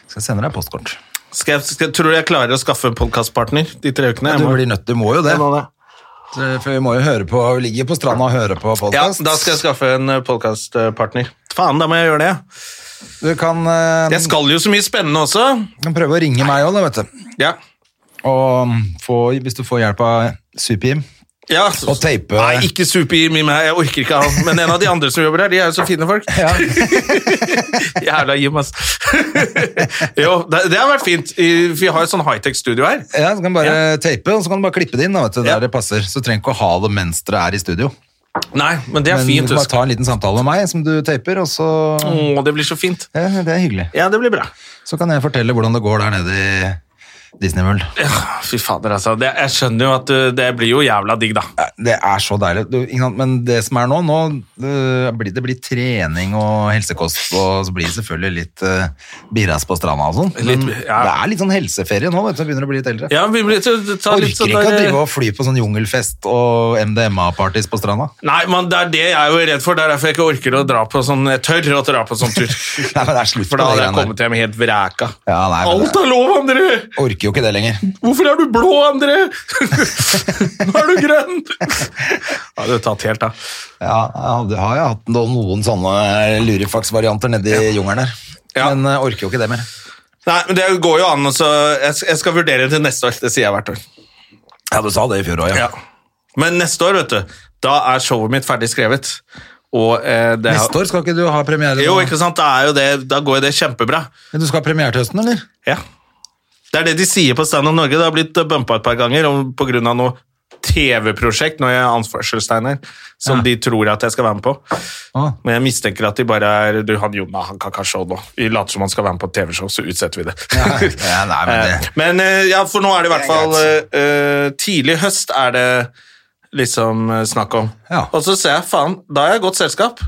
Skal jeg sende deg postkort.
Skal jeg, skal, tror du jeg klarer å skaffe en podkastpartner de tre ukene?
Du
Jeg må-
blir nødt, du må jo det.
Jeg må det.
For vi må jo høre på, vi ligger på stranda og hører på
Ja,
podcast.
da skal jeg skaffe en eh, podkastpartner. Faen, da må jeg gjøre det. ja.
Du kan, eh,
Jeg skal jo så mye spennende også.
kan prøve å ringe meg også, da, vet du.
Ja.
Og mm, få, hvis du får hjelp av Super-Jim.
Ja.
Og teipe.
Nei, [laughs] ikke Super-Jimmy, men jeg orker ikke han. Men en av de andre som jobber der, de er jo så fine folk. [laughs] Jævla Jim, ass. [laughs] jo, det, det har vært fint. I- Vi har jo sånn high-tech-studio her.
[laughs] Ja, så kan du bare teipe, og så kan du bare klippe det inn da, vet du, der
Ja.
det passer. Så trenger du ikke å ha det mens dere er i studio.
Nei, men det er
Men
fint. Mm.
du kan bare
Husk.
ta en liten samtale med meg som du teiper, og så
Å, det blir så fint.
ja, Det er hyggelig.
Ja, det blir bra.
Så kan jeg fortelle hvordan det går der nede i Disney World.
Fy fader, altså. Det, jeg skjønner jo at uh, det blir jo jævla digg, da.
Det er så deilig. Du, ikke sant? Men det som er nå, nå øh, blir, det blir trening og helsekost, og så blir det selvfølgelig litt øh, birras på stranda og sånn. Men
Litt- ja.
Det er litt sånn helseferie nå, vet du. Jeg begynner å bli litt eldre.
Ja, vi blir til å ta
Orker
litt sånn
ikke å
der,
drive og fly på sånn jungelfest og MDMA-parties på stranda. [laughs]
Nei, men det er det jeg er jo redd for. Det er derfor jeg ikke orker å dra på sånn Jeg tør å dra på sånn tur.
[laughs] Nei, men det er slutt
For
på det
da hadde jeg
greiene der.
kommet hjem helt vreka.
Ja, nei, men
Alt
det-
er lov, André!
Orker jo ikke det lenger.
Hvorfor er du blå,
[laughs]
André? Nå er du grønn! Ja, du er tatt helt av.
Ja, jeg hadde, har jeg hatt noen, noen sånne eh, lurifax-varianter nedi jungelen der.
Ja.
Men øh, orker jo ikke det mer.
Nei, men det går jo an, så jeg, jeg skal vurdere til neste år. Det sier jeg hvert år.
Ja, du sa det i fjor òg,
Ja. Men neste år, vet du, da er showet mitt ferdig skrevet. Og eh, det
Neste år skal ikke du ha premiere?
Jo,
nå?
ikke sant? Da, er jo det, da går jo det kjempebra.
Men Du skal ha premiere til høsten, eller?
Ja. Det er det de sier på Stand Up Norge. Det har blitt bumpa et par ganger om- på grunn av noe TV-prosjekt, når jeg er anførselstegn her, som de tror at jeg skal være med på.
Ah.
Men jeg mistenker at de bare er Du, han Jonna, han kan ikke ha show nå. Vi later som han skal være med på et TV-show, så utsetter vi det.
ja, nei, men det-
[laughs] Eh, men eh, ja, for nå er det i hvert
Det er
fall eh, eh, Tidlig høst er det liksom eh, snakk om.
Ja.
Og så ser jeg, faen, da har jeg godt selskap.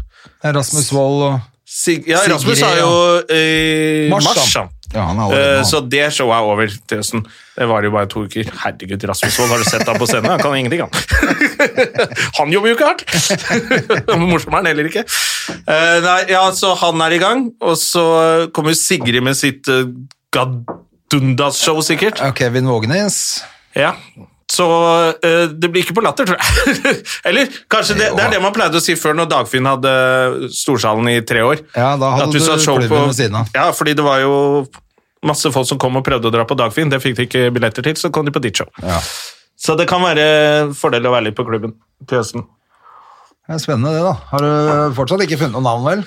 Eh, Rasmus Wold og
Sig ja,
Sigrid,
Rasmus har jo eh,
Mars,
Mars,
da.
ja.
Ja, han er allerede
Eh,
nå.
Så det showet er over til høsten. Det varer jo bare to uker. Herregud, Rasmus Wold, har du sett ham på scenen? Han kan ingenting, han. [laughs] Han jobber jo ikke hardt! Hvor morsom er han heller ikke? Eh, Nei, ja, så han er i gang, og så kommer Sigrid med sitt eh, Gadundas-show, sikkert.
Ja, Kevin Vågenes.
Ja. Så eh, det blir ikke på latter, tror jeg. [laughs] Eller kanskje det, det er det man pleide å si før når Dagfinn hadde eh, Storsalen i tre år.
Ja, da hadde
At
du
satt show
klubben ved siden av.
Ja, fordi det var jo masse folk som kom og prøvde å dra på Dagfinn. Det fikk de ikke billetter til, så kom de på ditt show.
Ja.
Så det kan være fordel å være litt på klubben til høsten.
Det er spennende det, da. Har du fortsatt ikke funnet noe navn, vel?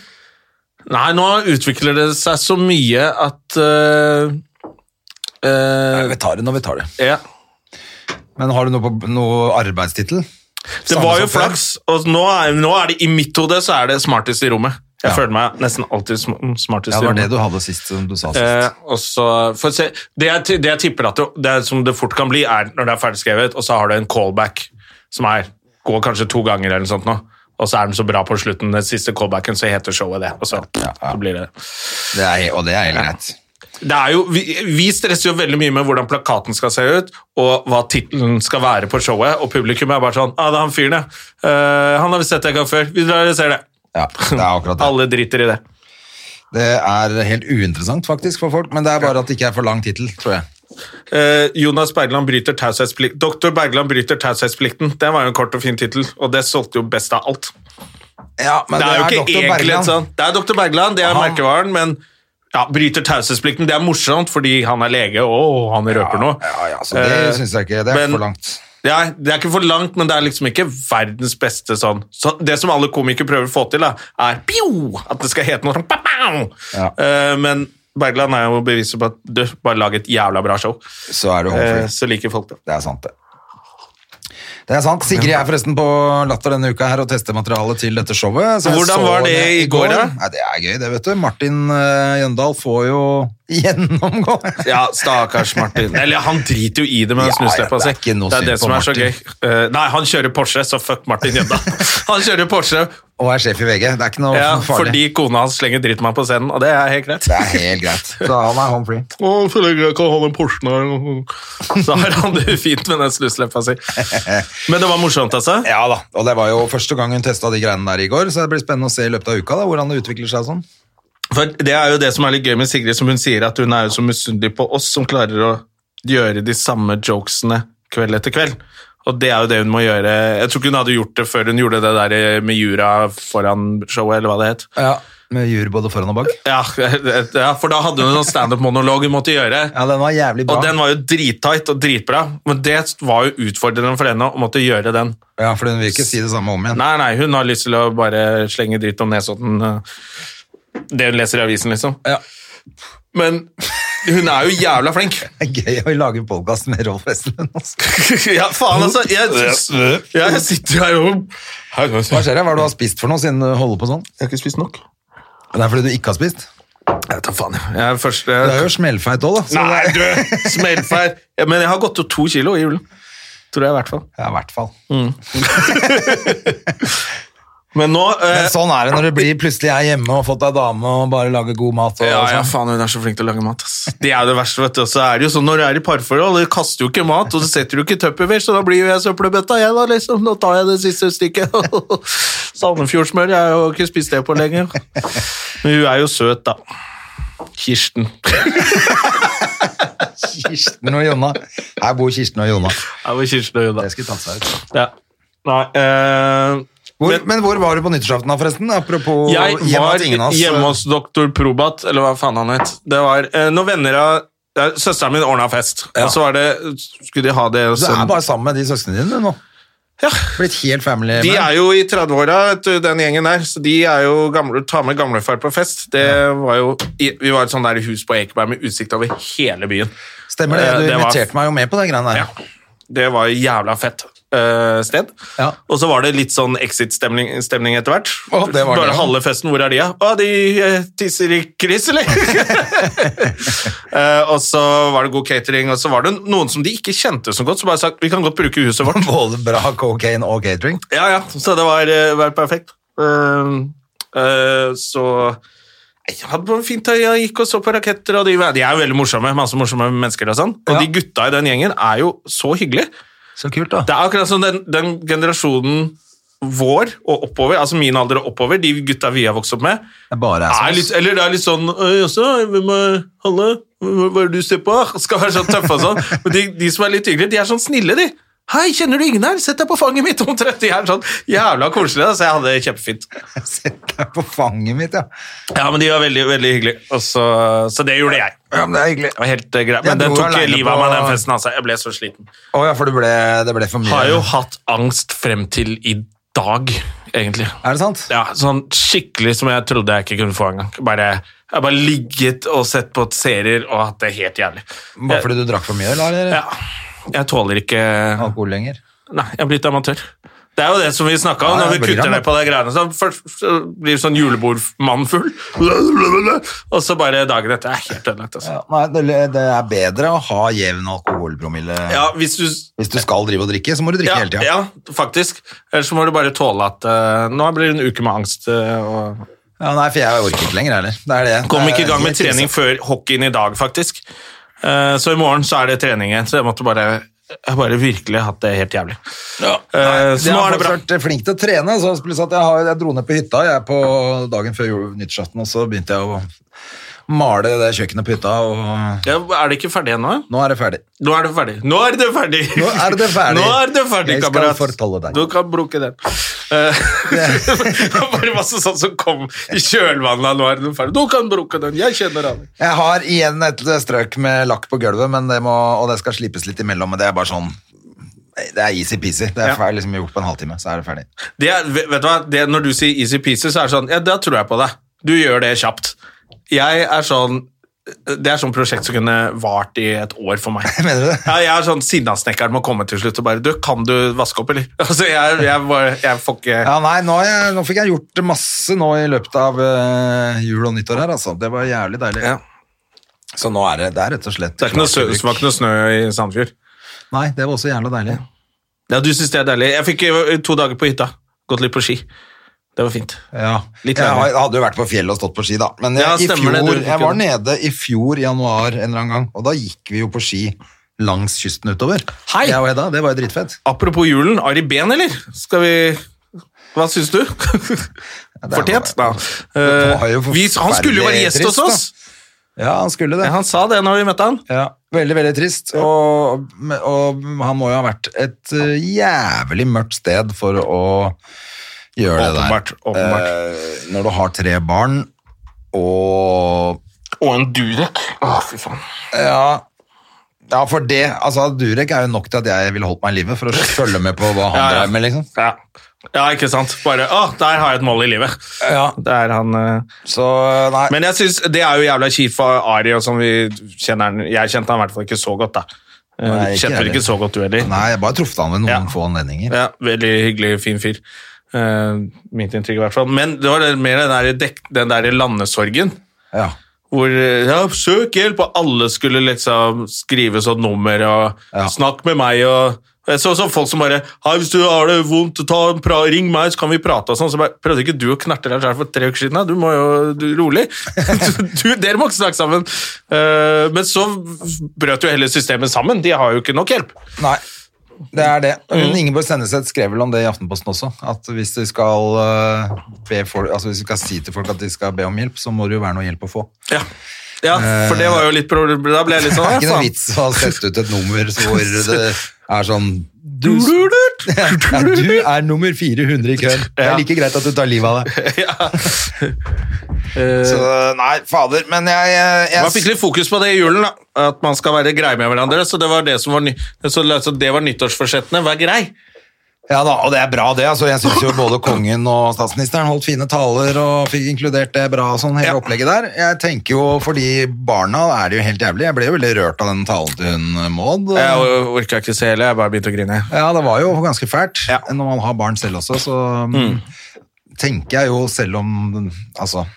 Nei, nå utvikler det seg så mye at eh, eh,
vi tar det når vi tar det.
ja.
Men har du noe, på- noe arbeidstittel?
Det
Samme
var jo
som før.
flaks, og nå er, nå er det i mitt hode så er det smartest i rommet. Jeg
Ja.
føler meg nesten alltid sm mm, smartest
Ja, det
i
var
rommet.
det du hadde sist, som du sa sist.
Eh, og så, for å se, det, jeg, ti- det jeg tipper at det, det er som det fort kan bli, er når det er ferdigskrevet, og så har du en callback som er, går kanskje to ganger eller noe sånt nå. Og så er den så bra på slutten, den siste callbacken, så heter showet det. Og så,
ja.
så blir det.
Det er, og det er helt greit.
det er jo, vi, vi stresser jo veldig mye med hvordan plakaten skal se ut, og hva tittelen skal være på showet, og publikum er bare sånn ah, 'Det er han fyren, ja. Eh, han har vi sett en gang før. Vi drar og ser det.'
Ja, det er akkurat det.
Alle driter i det.
Det er helt uinteressant faktisk for folk, men det er bare at det ikke er for lang tittel, tror jeg.
Eh, Jonas Bergland bryter taushetsplikt Doktor Bergland bryter taushetsplikten. Det var jo en kort og fin tittel, og det solgte jo best av alt.
Ja, men
Det er jo ikke
Dr.
egentlig
Bergland.
et sånn Det er Doktor Bergland, det er
Han-
merkevaren, men ja, bryter taushetsplikten. Det er morsomt fordi han er lege, og han røper noe.
Ja, ja, så det
Eh,
synes jeg ikke, det er
men-
for langt.
Det er, det er ikke for langt, men det er liksom ikke verdens beste sånn. Så det som alle komikere prøver å få til, da, er pio! At det skal hete noe sånn pow, pow!
Ja.
Eh, Men Bergland er jo beviset på at du, bare lag et jævla bra show.
Så er det
Eh,
Humphrey.
Så liker folk det.
Det er sant, det. Det er sant. Sigrid er forresten på Latter denne uka her og tester materialet til dette showet. så jeg
Hvordan
så
var det i går, da?
Nei, det er gøy, det, vet du. Martin eh, Jøndal får jo [laughs] gjennomgå.
Ja, stakkars Martin. Eller han driter jo i det med den
Ja, ja,
snusleppa si.
det er ikke noe
Det er det
synd på
som er så gøy.
Martin.
Eh, nei, han kjører Porsche, så fuck Martin
[laughs]
Jøndal. Han kjører Porsche
Og er sjef i VG. Det er ikke noe
ja,
[laughs] farlig.
fordi kona hans slenger dritt med ham på scenen, og det er helt greit.
Det er helt greit. Så han er home free.
Å, så lenge jeg kan ha den Porschen her. [laughs] Så har han det fint med den snusleppa [laughs] si. Men det var morsomt, altså.
Ja da. Og det var jo første gang hun testa de greiene der i går, så det blir spennende å se i løpet av uka da, hvordan det utvikler seg og sånn.
For det er jo det som er litt gøy med Sigrid, som hun sier, at hun er jo så misunnelig på oss som klarer å gjøre de samme jokesene kveld etter kveld. Og det er jo det hun må gjøre. Jeg tror ikke hun hadde gjort det før hun gjorde det der med jura foran showet, eller hva det het.
Ja. Med jur både foran og bak.
Ja, ja [laughs] for da hadde hun en sånn standup-monolog hun måtte gjøre.
Ja, den var jævlig bra.
Og den var jo drittight og dritbra, men det var jo utfordrende for henne å måtte gjøre den.
Ja, for hun vil ikke si det samme om igjen.
Nei, nei, hun har lyst til å bare slenge dritt om Nesodden. eh, Det hun leser i avisen, liksom.
Ja.
Men hun er jo jævla flink.
Det er gøy å lage podkast med Rolf Wesenlund. altså.
[laughs] ja, faen altså. Jeg, jeg, sitter jo her og
Hva skjer? her? Hva er det du har spist for noe siden du holder på sånn?
Jeg har ikke spist nok.
Det er fordi du ikke har spist?
Jeg tar faen, jeg. jeg er først,
Du
jeg,
er jo smellfeit òg, da. Så
nei, du! [laughs] Smellfeil. Ja, men jeg har gått opp to kilo i julen. Tror jeg, i hvert fall.
Ja, i hvert fall.
Men nå eh,
Men sånn er det når du blir plutselig er hjemme og har fått deg dame og bare lager god mat. Og,
ja, ja,
sånn.
faen, hun er så flink til å lage mat. Ass. Det er jo det verste, vet du. Og så er det jo sånn når du er i parforhold, du kaster jo ikke mat, og så setter du ikke Tupperware, så da blir jo jeg søppelbøtta, jeg, da, liksom. Nå tar jeg det siste stykket. [laughs] Sandefjordsmør, jeg har jo ikke spist det på lenge. Men hun er jo søt, da. Kirsten.
sånn. Kirsten og Jonna. Her bor Kirsten og Jonna.
[laughs] Ja, det var Kirsten og hun,
Det
da.
skulle tatt seg ut.
Ja. Nei, eh,
Hvor,
Men-
men, hvor var du på nyttårsaften, da, forresten? Apropos
jeg
hjemme
var
at ingen av oss-
hjemme hos doktor Probat, eller hva faen han het. Det var eh, når venner av ja, Søsteren min ordna fest, og så var det Skulle de ha det
Du er
sånn-
bare sammen med de søsknene dine nå.
Ja.
Blitt helt family.
De
man.
er jo i 30-åra, vet du, den gjengen der, så de er jo gamle, tar med gamlefar på fest. Det var jo, i- Vi var et sånt der hus på Ekeberg med utsikt over hele byen.
Stemmer det,
Eh,
du
det var-
inviterte meg jo med på de greiene der.
Ja. Det var jo jævla fett eh, sted.
Ja.
Og så var det litt sånn exit-stemning stemning etter hvert.
Å, det var
Bare
det, ja.
halve festen, hvor er de, ja? Å, de eh, tisser i kryss,
[laughs]
eller? [laughs] Eh, og så var det god catering, og så var det noen som de ikke kjente så godt, som bare sa vi kan godt bruke huset vårt.
Både bra cocaine og catering.
Ja, ja. Ehm, Så det var, eh, var perfekt. Eh, eh, så Jeg hadde bare fint jeg gikk og så på raketter, og de, de er jo veldig morsomme. masse morsomme mennesker Og sånn. Og
Ja.
de gutta i den gjengen er jo så hyggelige.
Så kult, da.
Det er akkurat som den, den generasjonen vår og oppover, altså min alder og oppover, de gutta vi har vokst opp med,
Det bare
er
er
litt,
sånn.
eller det er litt sånn «Øy, også, hvem er Halle? Hva hva er det du ser på? [laughs] Skal være sånn tøffe og sånn. Men de, de som er litt hyggelige, de er sånn snille, de. Hei, kjenner du ingen her? Sett deg på fanget mitt [laughs] omtrent. De er sånn jævla koselige, da, så jeg hadde det kjempefint.
[laughs] Sett deg på fanget mitt, ja.
Ja, men de var veldig, veldig hyggelige. Og så, så det gjorde jeg.
Ja, men det er hyggelig.
Det var helt eh,
Jeg
greit. Men den
dro
tok
alene
livet
på-
av meg, den festen, altså. Jeg ble så sliten.
Å ja, for det ble, det ble for mye.
Har jo hatt angst frem til i dag, egentlig.
Er det sant?
Ja, sånn skikkelig som jeg trodde jeg ikke kunne få engang. Bare, jeg har bare ligget og sett på serier og hatt det helt jævlig.
Bare fordi du drakk for mye, eller? eller?
Ja, jeg tåler ikke
Alkohol lenger.
Nei, jeg er blitt amatør. Det er jo det som vi snakka om
Ja, jeg
når vi
blir
kutter ned
amatør.
på de greiene. Så først så blir sånn julebordmann full, [laughs] og så bare dagen etter er helt ødelagt. Altså.
Ja, nei, det, det er bedre å ha jevn alkoholpromille.
Ja, hvis du
Hvis du skal drive og drikke, så må du drikke
ja,
hele tida.
ja, faktisk. Ellers må du bare tåle at eh, nå blir det en uke med angst. eh, og
Ja, nei, for jeg orker ikke lenger heller. Det er det.
Kom
Det er
ikke i gang med
helt
trening
krise.
før hockeyen i dag, faktisk. Eh, Så i morgen så er det trening igjen, så jeg måtte bare jeg har bare virkelig hatt det helt jævlig. Eh,
Jeg
Så nå
har
er det bra.
faktisk vært flink til å trene. Så plutselig at jeg, har, jeg dro ned på hytta jeg er på dagen før jul- nyttårsaften, og så begynte jeg å male det kjøkkenet på hytta, og
Ja, Er det ikke ferdig ennå?
nå er det ferdig.
Nå er det ferdig. Nå er det ferdig!
Nå er det ferdig.
Nå er det ferdig,
Jeg skal
kamerat.
fortelle deg.
Du kan bruke den. Eh, [laughs] Det var bare masse sånt som kom i kjølvannet av 'nå er det ferdig'. Du kan bruke den, jeg kjenner alle.
Jeg har igjen et strøk med lakk på gulvet, men det må, og det skal slipes litt imellom, men det er bare sånn Det er easy-peasy. Det er
Ja.
ferdig, liksom gjort på en halvtime, så er det ferdig. [laughs]
Det, er- vet vet du hva? Det, når du sier easy peasy, så er det sånn Ja, da tror jeg på deg. Du gjør det kjapt. Jeg er sånn Det er sånn prosjekt som kunne vart i et år for meg.
Mener du det?
Ja, jeg er sånn sinnasnekkeren må komme til slutt og bare Du, kan du vaske opp, eller? [laughs] Altså, jeg, jeg, bare, jeg får ikke
Ja, nei, nå, har jeg, nå fikk jeg gjort masse nå i løpet av eh, jul og nyttår her, altså. Det var jævlig deilig.
Ja.
Så nå er det, det er rett og slett
Det er ikke noe snø,
klart
det var ikke
til bruk.
noe snø i Sandfjord.
Nei, det var også jævla deilig.
Ja, du syns det er deilig. Jeg fikk eh, to dager på hytta. Gått litt på ski. Det var fint.
Ja.
Litt
jeg
deilig.
har- jeg hadde jo vært på fjellet og stått på ski, da. Men jeg,
Ja,
i fjor,
stemmer det, du-
jeg var nede i fjor januar en eller annen gang, og da gikk vi jo på ski langs kysten utover.
Hei!
Jeg og Hedda, det var jo dritfett.
Apropos julen, Ari Behn, eller? Skal vi Hva syns du? [laughs]
var-
Fortjent? Da.
Det var jo
Eh, vi- Han skulle jo være gjest
forferdelig
hos oss!
Ja, han skulle det.
Ja, Han sa det når vi møtte han.
Ja, veldig, veldig trist. Og, og han må jo ha vært et eh, jævlig mørkt sted for å gjøre
Åpenbart,
det der.
åpenbart.
Eh, når du har tre barn, Eh, og
Og en durek. Å, fy faen.
ja, ja, for det, altså Durek er jo nok til at jeg ville holdt meg i livet for å følge med på hva han
[laughs] Ja, ja.
drev med, liksom.
Ja. ja, ikke sant. Bare Å, der har jeg et mål i livet.
Ja.
Der han eh,
Så nei,
Men jeg synes, det er jo jævla kjipt for Ari, og som vi kjenner han Jeg kjente han i hvert fall ikke så godt, da. Eh,
Nei, ikke
Kjente vel
heller.
ikke så godt, du heller?
nei, jeg bare truffet han ved noen
Ja.
få anledninger.
Ja, veldig hyggelig, fin fyr. Eh, mitt inntrykk i hvert fall. Men det var det, mer den der, dek, den der landesorgen.
Ja.
Hvor eh, ja, 'søk hjelp', og alle skulle liksom skrive sånn nummer og
Ja.
'snakk med meg' og jeg så, så folk som bare Hei, 'Hvis du har det vondt, ta, en pra, ring meg, så kan vi prate' og sånn. Så bare, prøvde ikke du å knerte deg selv for tre uker siden? da? Du må jo du, Rolig. [laughs] du, dere må ikke snakke sammen. Eh, men så brøt jo hele systemet sammen. De har jo ikke nok hjelp.
Nei, det er det.
Mm.
Men Ingeborg Senneset skrev vel om det i Aftenposten også, at hvis du skal, eh, be folk, altså hvis du skal si til folk at de skal be om hjelp, så må det jo være noe hjelp å få.
Ja. ja, for det var jo litt problem. Da ble jeg litt
Det
sånn
er
«Ja,
ikke noe
faen».
vits å sette ut et nummer så
[laughs]
hvor det er sånn du, ja, du er nummer 400 i køen. Det er like greit at du tar livet av deg. [laughs] Eh,
Ja.
Så, nei, fader, men jeg, jeg,
Man fikk litt fokus på det i julen, da. at man skal være grei med hverandre. Så det var det som var, ny så, så det var nyttårsforsettene. Vær grei.
Ja da, og det er bra det. Altså, jeg synes jo [laughs] både kongen og statsministeren holdt fine taler og fikk inkludert det bra og sånn hele
Ja.
opplegget der. Jeg tenker jo, for de barna er det jo helt jævlig. Jeg ble jo veldig rørt av den talen til hun Maud.
Jeg orka ikke se heller, jeg bare begynte å grine.
Ja, det var jo ganske fælt.
Ja. Mm.
Når man har barn selv også, så um, tenker jeg jo selv om Altså.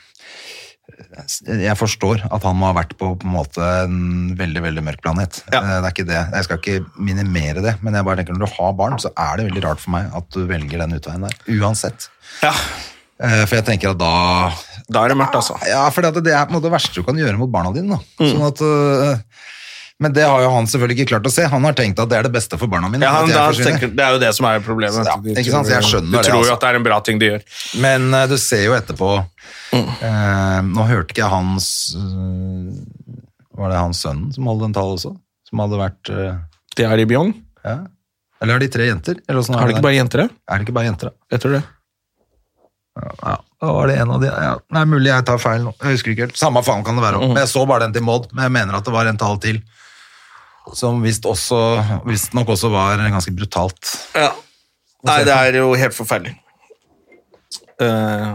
Jeg forstår at han må ha vært på, på en måte en veldig veldig mørk planet.
Ja.
Eh, Det er ikke det. Jeg skal ikke minimere det, men jeg bare tenker når du har barn, så er det veldig rart for meg at du velger den utveien der. Uansett.
Ja.
Eh, For jeg tenker at da
Da er det mørkt, altså.
Ja, for det, det er på en måte det verste du kan gjøre mot barna dine. Da.
Mm.
Sånn at, øh, men det har jo han selvfølgelig ikke klart å se. Han har tenkt at det er det beste for barna mine.
Ja,
at
han,
jeg
da
forsvinner.
tenker, det er jo det som er problemet.
Ja,
De
ikke sant?
tror-
Jeg skjønner
de
det,
tror
altså.
jo at det er en bra ting de gjør.
Men eh, du ser jo etterpå
Mm.
eh, Nå hørte ikke jeg hans eh, Var det hans sønnen som holdt den talen også? Som hadde vært eh,
Det er i Bjong.
ja. Eller har de tre jenter? Eller hvordan er
Har de ikke
der?
bare jenter, det?
er det ikke bare jenter, da?
Jeg tror det.
Ja, da var det en av de ja. Nei, mulig jeg tar feil nå. Jeg husker ikke helt. Samme faen kan det være.
Mm.
Men jeg så bare den til Maud, men jeg mener at det var en tall til. Som visst også visst nok også var ganske brutalt.
Ja. Nei, det er jo helt forferdelig. Eh,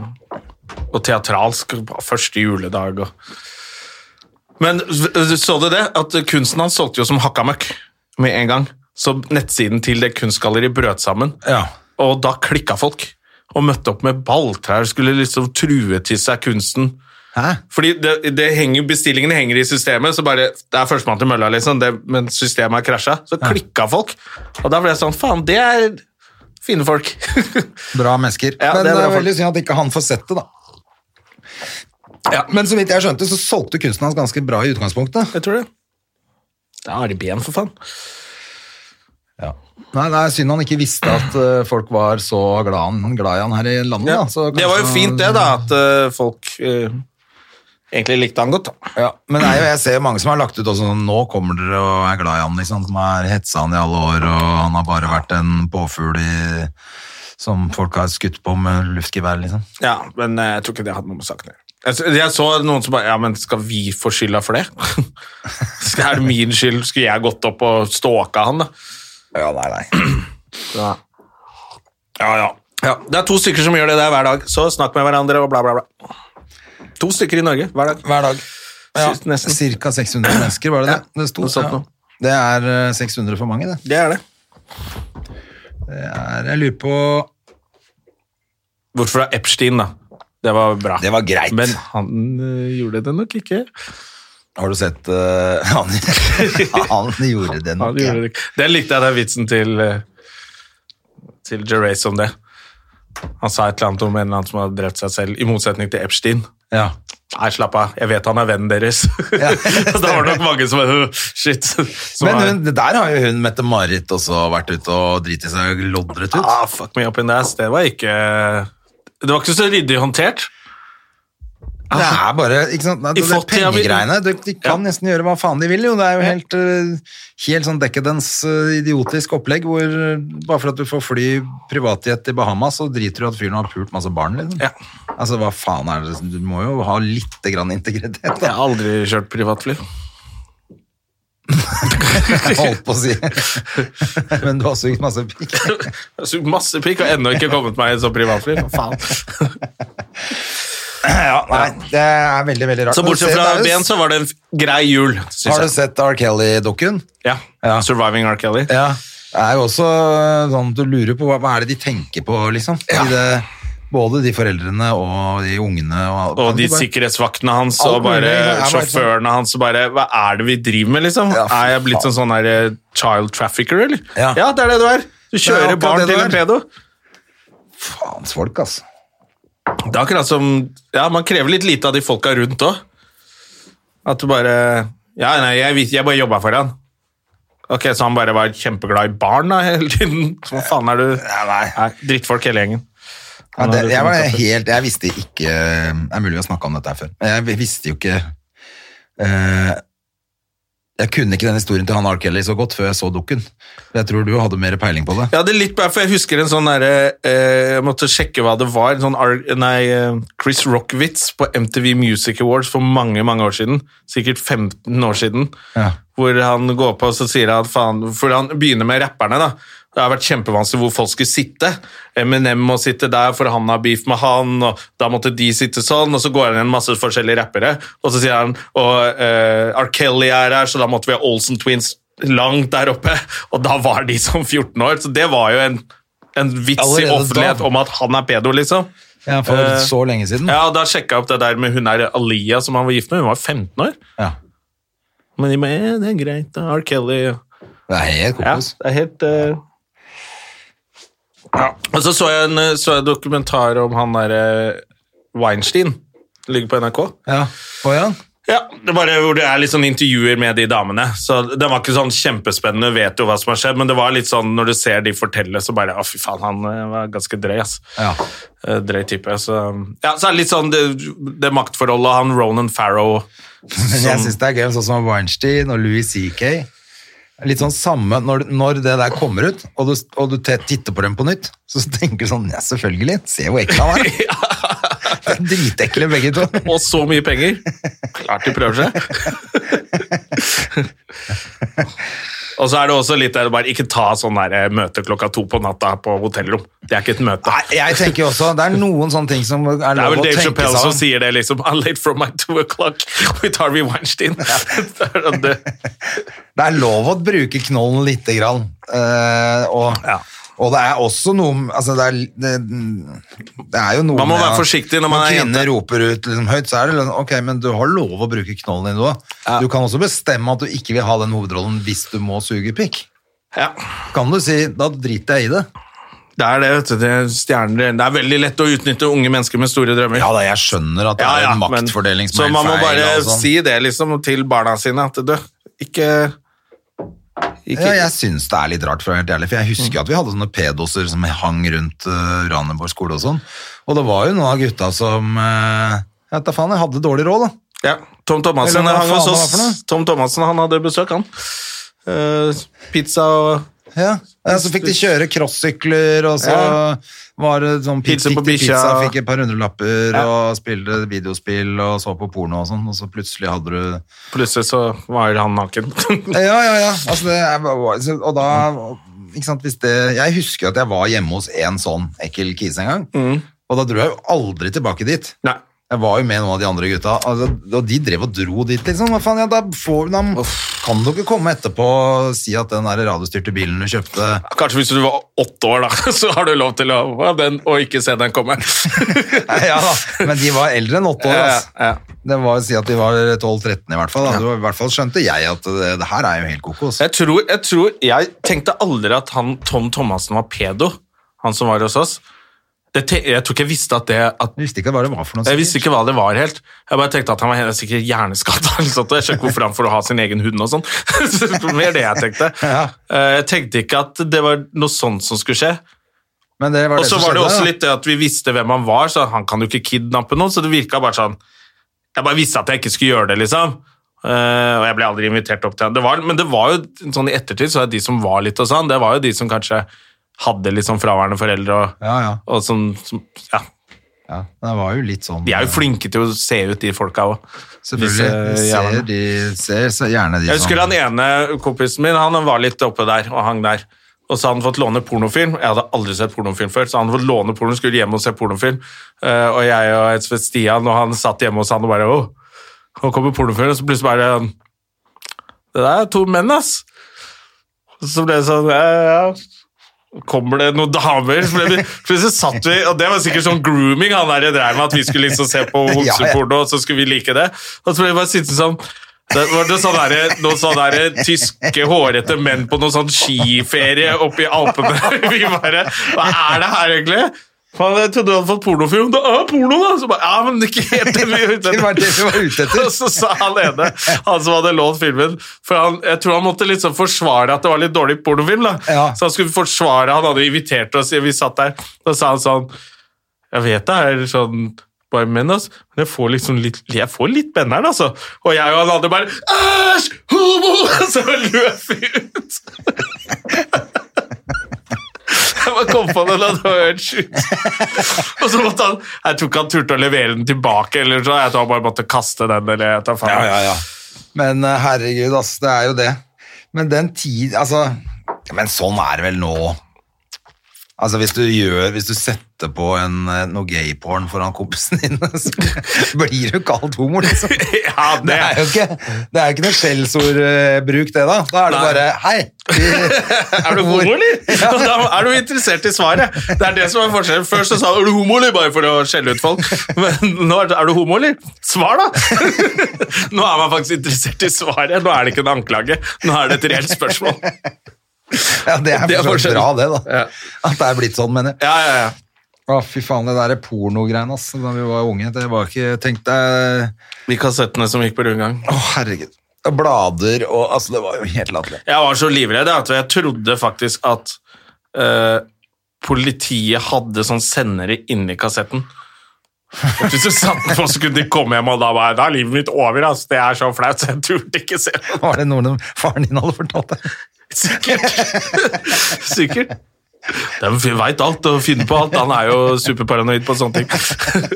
og teatralsk på første juledag og Men v- så du det? At kunsten hans solgte jo som hakka møkk med en gang. Så nettsiden til det kunstgalleriet brøt sammen,
Ja.
og da klikka folk. Og møtte opp med balltrær, skulle liksom true til seg kunsten.
Hæ?
Fordi det, det henger, Bestillingene henger i systemet, så bare Det er førstemann til mølla, liksom, det, men systemet har krasja. Så klikka folk. Og da ble jeg sånn Faen, det er fine folk.
Bra mennesker.
Ja,
men eh,
det
det er,
er bra folk.
veldig synd at ikke han får sett det, da.
Ja.
Men så vidt jeg skjønte, så solgte kunsten hans ganske bra i utgangspunktet.
jeg tror det. Det er Ari Behn, for faen.
Nei, Det er synd han ikke visste at eh, folk var så glad, i han- glad i han her i landet. Da. Så
det var jo
kanskje-
fint, det, da, at eh, folk eh, egentlig likte han godt. da.
Ja, men det er jo, jeg ser jo mange som har lagt ut også, sånn, nå kommer dere og er glad i han, liksom, som har hetsa han i alle år, og han har bare vært en påfugl i, som folk har skutt på med luftgevær, liksom.
Ja, Men eh, jeg tror ikke det hadde noe med saken å gjøre. Jeg, s- jeg så noen som bare Ja, men skal vi få skylda for det? [laughs] Skal- er det min skyld? Skulle jeg gått opp og stalka han, da?
Ja, nei, nei.
Ja. Ja, ja. Det er to stykker som gjør det der hver dag. Så snakk med hverandre og bla, bla, bla. To stykker i Norge hver dag.
Hver dag. Ja,
Sist nesten.
cirka 600 mennesker, var det det?
Ja,
det, sto,
noe sånt
ja.
nå.
det er eh, 600 for mange, det.
Det er det.
det er, jeg lurer på...
Bort fra Epstein, da. Det var bra.
Det var greit.
Men han øh, gjorde det nok ikke.
Har du sett... eh, [laughs] han, han gjorde det
Han
nok, ja.
gjorde det ikke. Den likte jeg, den vitsen til, øh, til Gervais om det. Han sa et eller annet om en eller annen som hadde drept seg selv, i motsetning til Epstein.
Ja.
Nei, slapp av. Jeg vet han er vennen deres. [laughs]
Ja,
da var det nok mange som øh, Shit. Som
Men
har-
hun, der har jo hun, Mette-Marit, også vært ute og dritt i seg og loddret ut.
Ah, fuck me up in the ass. Det var ikke Det var ikke så ryddig håndtert.
Det er bare ikke sant? Nei,
I
det, det
fattig-
pengegreiene. De, de kan
Ja.
nesten gjøre hva faen de vil, jo. Det er jo helt, eh, helt sånn dekadens, eh, idiotisk opplegg hvor eh, bare for at du får fly privatjet til Bahamas, så driter du i at fyren har pult masse barn, liksom.
Ja.
Altså, hva faen er det Du må jo ha lite grann integritet,
Jeg
da.
har aldri kjørt [laughs] privatfly.
Jeg holdt på å si. [laughs] Men du har sugd masse pikk.
Jeg har sugd Altså, masse pikk og ennå ikke kommet meg i sånn privatfly. Hva Faen.
Ja, nei, det er veldig, veldig rart.
Så bortsett
Se,
fra
det er jo-
ben, så var det en f- grei jul,
Har du
syns jeg.
sett R. Kelly-dukken?
Ja.
Ja.
Surviving R. Kelly.
Ja. Det er jo også sånn at du lurer på hva, hva er det de tenker på, liksom. I det, både de foreldrene og de ungene. Og,
Og
kan
de
du bare-
sikkerhetsvaktene hans
Alt
og bare
mulig, det er bare sånn.
sjåførene hans og bare Hva er det vi driver med, liksom?
Ja, fy
Er jeg blitt en sånn her eh, child trafficker, eller?
Ja.
Ja, det er det du er. Du
er
kjører
akkurat
barn
det du
til en
er.
pedo.
Faens folk, altså.
Det er akkurat som Ja, man krever litt lite av de folka rundt òg. At du bare Ja, nei, jeg, vis- jeg bare jobba for han. Ok, Så han bare var kjempeglad i barn da, [laughs] hele tiden? Hva faen er du
nei.
Drittfolk hele gjengen.
Ja,
Han liksom
det,
hadde
jeg, var
funnet opp det.
helt, jeg visste ikke eh, Det er mulig vi har snakka om dette her før. men Jeg visste jo ikke eh, Jeg kunne ikke den historien til han R. Kelly så godt før jeg så dukken. Jeg tror du hadde mer peiling på det.
Jeg hadde litt bare, for jeg husker en sånn derre eh, Jeg måtte sjekke hva det var. En sånn R, nei, eh, Chris Rock-vits på MTV Music Awards for mange, mange år siden. Sikkert 15 år siden.
Ja.
Hvor han går på og så sier han, faen, for han begynner med rapperne da. Det har vært kjempevanskelig hvor folk skulle sitte. Eminem må sitte der, for han har beef med han, og da måtte de sitte sånn, og så går han igjen masse forskjellige rappere, og så sier han, og eh, R. Kelly er her, så da måtte vi ha Olsen Twins langt der oppe, og da var de som 14 år, så det var jo en, en vits i
Allerede da.
offentlighet om at han er pedo, liksom.
Ja, for
Eh,
så lenge siden.
Ja, og da sjekket jeg opp det der med hun her Aliyah som han var gift med, hun var 15 år.
Ja.
Men de bare, eh, det er greit, da, R. Kelly,
Det er helt
ja,
kokos.
det er helt eh, Og så så jeg en eh, så jeg en dokumentar om han derre eh, Weinstein. Det ligger på NRK.
Ja. Får jeg den?
Ja, det er bare hvor det er litt sånn intervjuer med de damene. Så Den var ikke sånn kjempespennende, vet jo hva som har skjedd, men det var litt sånn når du ser de fortelle, så bare Å, fy faen, han eh, var ganske drøy, ass.
Ja.
Eh, Drøy type. Så, ja, så er det litt sånn det, det maktforholdet han Ronan Farrow [laughs]
Men jeg syns det er gøy, sånn som Weinstein og Louis CK. Litt sånn samme når, når det der kommer ut, og du, og du te- titter på dem på nytt, så tenker du sånn Ja, selvfølgelig. Se hvor ekkel han var. Det er Dritekle begge
[laughs]
to.
og så mye penger. Klart de prøver seg. og så er det også litt der, bare ikke ta sånn der møte klokka to på natta på hotellrom. Det er ikke et møte.
Nei, jeg tenker jo også Det er noen sånne ting som er
Det er
lov å
vel Dave
tenke
Chappelle som
seg om.
sier det, liksom. [laughs] I'm late from my two o'clock with Harvey Weinstein. [laughs] Det er sånn det-
Det er lov å bruke knollen lite grann. eh, og,
Ja.
og det er også noe altså det, er, det, det er jo noe
Man må
med
være
at
forsiktig når man er
kvinner roper ut liksom, høyt, så er det liksom, ok, men du har lov å bruke knollen din du òg.
Ja.
Du kan også bestemme at du ikke vil ha den hovedrollen hvis du må suge pikk.
ja.
Kan du si da driter jeg i det?
Det er det, vet du. Det er, stjerner, det er veldig lett å utnytte unge mennesker med store drømmer.
Ja da, jeg skjønner at det
Ja,
er
ja,
en
men-
maktfordeling som
Så
er
man må
feil
bare
og sånn.
si det liksom til barna sine, at du, ikke ikke,
Ja, jeg syns det er litt rart, for å være helt ærlig. For jeg husker at vi hadde sånne pedoser som hang rundt uh, Raneborg skole og sånn. Og det var jo noen av gutta som eh, Jeg vet da faen, jeg hadde dårlig råd, da.
Ja, Tom Thomassen
Eller hva
hang hos
faen det var for
oss.
noe?
Tom Thomassen, han hadde besøk, han. Eh, pizza og
Ja. Ja, så fikk de kjøre crossykler, og så
Ja.
var det sånn
Pizza på
fikk de
bikkja.
Pizza, fikk et par hundrelapper
Ja.
og spilte videospill og så på porno og sånn, og så plutselig hadde du
plutselig så var han naken. [laughs]
Ja, ja, ja. Altså, det er, bare- og da ikke sant, hvis det, Jeg husker at jeg var hjemme hos en sånn ekkel kise en gang. Og da dro jeg jo aldri tilbake dit.
Nei.
Jeg var jo med noen av de andre gutta, altså, og de drev og dro dit, liksom. Hva faen, ja, da, får, da kan du ikke komme etterpå og si at den der radiostyrte bilen du
[laughs]
kjøpte
Kanskje hvis du var åtte år, da, [laughs] så har du lov til å ha den og ikke se den [laughs] komme.
Ja da, men de var eldre enn åtte år, altså.
Ja, ja.
Det var å si at de var 12-13 i hvert fall. Da. Det var, I hvert fall skjønte jeg at det, det her er jo helt kokos.
Jeg tror, jeg tror Jeg tenkte aldri at han Tom Thomassen var pedo, han som var hos oss. Det, te- jeg tror ikke jeg visste at det at,
Jeg visste ikke hva det var for noe.
Jeg visste ikke hva det var helt. Jeg bare tenkte at han var helt- sikkert hjerneskada. eller sånt, og Jeg skjønner ikke hvorfor han får ha sin egen hund og sånn. [laughs] Så det var Mer det jeg tenkte.
Ja.
Eh, Jeg tenkte ikke at det var noe sånt som skulle skje.
Men det var
Og
det
så
som
var det
skjedde,
også
da.
litt det at vi visste hvem han var, så han kan jo ikke kidnappe noen, så det virka bare sånn Jeg bare visste at jeg ikke skulle gjøre det, liksom. Eh, og jeg ble aldri invitert opp til han. Det var, men det var jo sånn i ettertid, så er det de som var litt og sånn, det var jo de som kanskje hadde litt sånn fraværende foreldre og,
Ja, ja.
og som, som Ja.
Ja, det var jo litt sånn
De er jo flinke til å se ut, de folka òg.
Selvfølgelig.
disse
Ser,
jævlene.
de, ser så gjerne de
Jeg husker
som
han ene kompisen min, han var litt oppe der og hang der. Og så hadde han fått låne pornofilm. Jeg hadde aldri sett pornofilm før. så han hadde fått låne porno, skulle hjem og se pornofilm. Eh, og jeg og Elsbeth Stian og han satt hjemme hos han og bare Åh, nå kommer pornofilmen. Og så plutselig bare Det der er to menn, ass. Og så ble det sånn ja, ja, ja. Kommer det noen damer? Så ble det, plutselig satt vi, og det var sikkert sånn grooming han der drev med, at vi skulle liksom se på
[laughs] Ja, ja.
homseporno, og så skulle vi like det. Og så ble det bare sittende sånn det var det sånn der, noen sånne der tyske hårete menn på noen sånn skiferie oppe i Alpene. [laughs] Vi bare Hva er det her, egentlig? Faen, jeg trodde du hadde fått pornofilm. Det er porno, da! Så bare, ja, men det er ikke helt det vi er ute
Det var det vi var ute etter.
[laughs] Og så sa han ene, han som hadde lånt filmen For han, jeg tror han måtte liksom forsvare at det var litt dårlig pornofilm, da.
Ja.
Så han skulle forsvare Han hadde invitert oss, vi satt der, da sa han sånn Jeg vet det er sånn bare menn, altså. Men jeg får liksom litt Jeg får litt benneren, altså. Og jeg og han andre bare Æsj! Homo! [laughs] Og så løp vi ut. Jeg bare kom på den, og det var helt sjukt. Og så måtte han Jeg tror ikke han turte å levere den tilbake, eller så. Jeg tror han bare måtte kaste den, eller jeg tar faen.
Men eh, herregud, ass, det er jo det. Men den tid Altså Men sånn er det vel nå. Altså Hvis du gjør Hvis du setter på en, eh, noe gayporn foran kompisen din, [laughs] så blir du kalt homo, liksom.
[laughs] Ja, det,
Det er jo ikke, det er jo ikke noe skjellsordbruk, det, da. Da er det
Nei.
bare Hei! vi-
Er du homo, [laughs] eller? Og Da er du interessert i svaret. Det er det som er forskjellen. Før så sa du 'er du homo', eller? Bare for å skjelle ut folk. Men nå er det 'er du homo', eller? Svar, da! [laughs] Nå er man faktisk interessert i svaret. Nå er det ikke en anklage. Nå er det et reelt spørsmål.
Ja, det er
[laughs] Det er
for så vidt
forskjellen.
bra, det, da.
Ja.
At det er blitt sånn, mener jeg.
Ja, ja, ja.
Å, fy faen, det der pornogreiene, ass. Da vi var unge, det var ikke Tenk deg
De kassettene som gikk på rundgang.
Å, herregud. Blader og Altså, det var jo helt latterlig. [laughs]
Jeg var så livredd jeg, at jeg trodde faktisk at eh, politiet hadde sånn sendere inni kassetten. At hvis du satt den på, så kunne de komme hjem, og da var jeg, da er livet mitt over. ass. Det er så flaut, så jeg turte ikke se den.
Var det noe faren din hadde fortalt deg?
Sikkert. [laughs] Sikkert. De veit alt og finner på alt. Han er jo superparanoid på
[laughs]
sånne ting.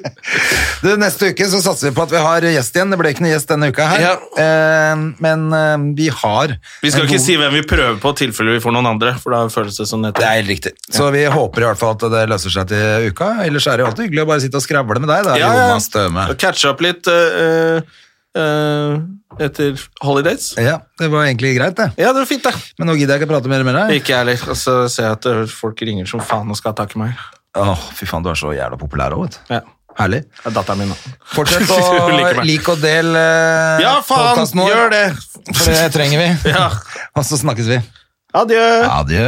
Du, neste uke så satser vi på at vi har gjest igjen. Det ble ikke noe gjest denne uka her.
Ja.
Eh, men eh, vi har
Vi skal
en
ikke
god-
si hvem vi prøver på, i tilfelle vi får noen andre. For da føles det som
Det
nettopp.
er helt riktig. Så vi håper i hvert fall at det løser seg til uka. Ellers er det jo alltid hyggelig å bare sitte og skravle med deg, da,
Ja, ja.
Jonas Støme.
Catche opp litt eh, eh, etter holidays.
Ja, det var egentlig greit, det.
Ja, det var fint, det.
Men nå gidder jeg ikke prate mer med deg.
Ikke jeg heller. Og så ser jeg at ø, folk ringer som faen og skal ha tak i meg.
Åh, fy faen, du er så jævla populær òg, vet du.
Ja.
Herlig.
Det er datteren min, da. [laughs]
Fortsett
Hun liker
å
meg.
like og del eh,
Ja, faen!
podcasten vår,
Gjør det!
For det trenger vi.
Ja.
Og så snakkes vi.
Adjø!
Adjø.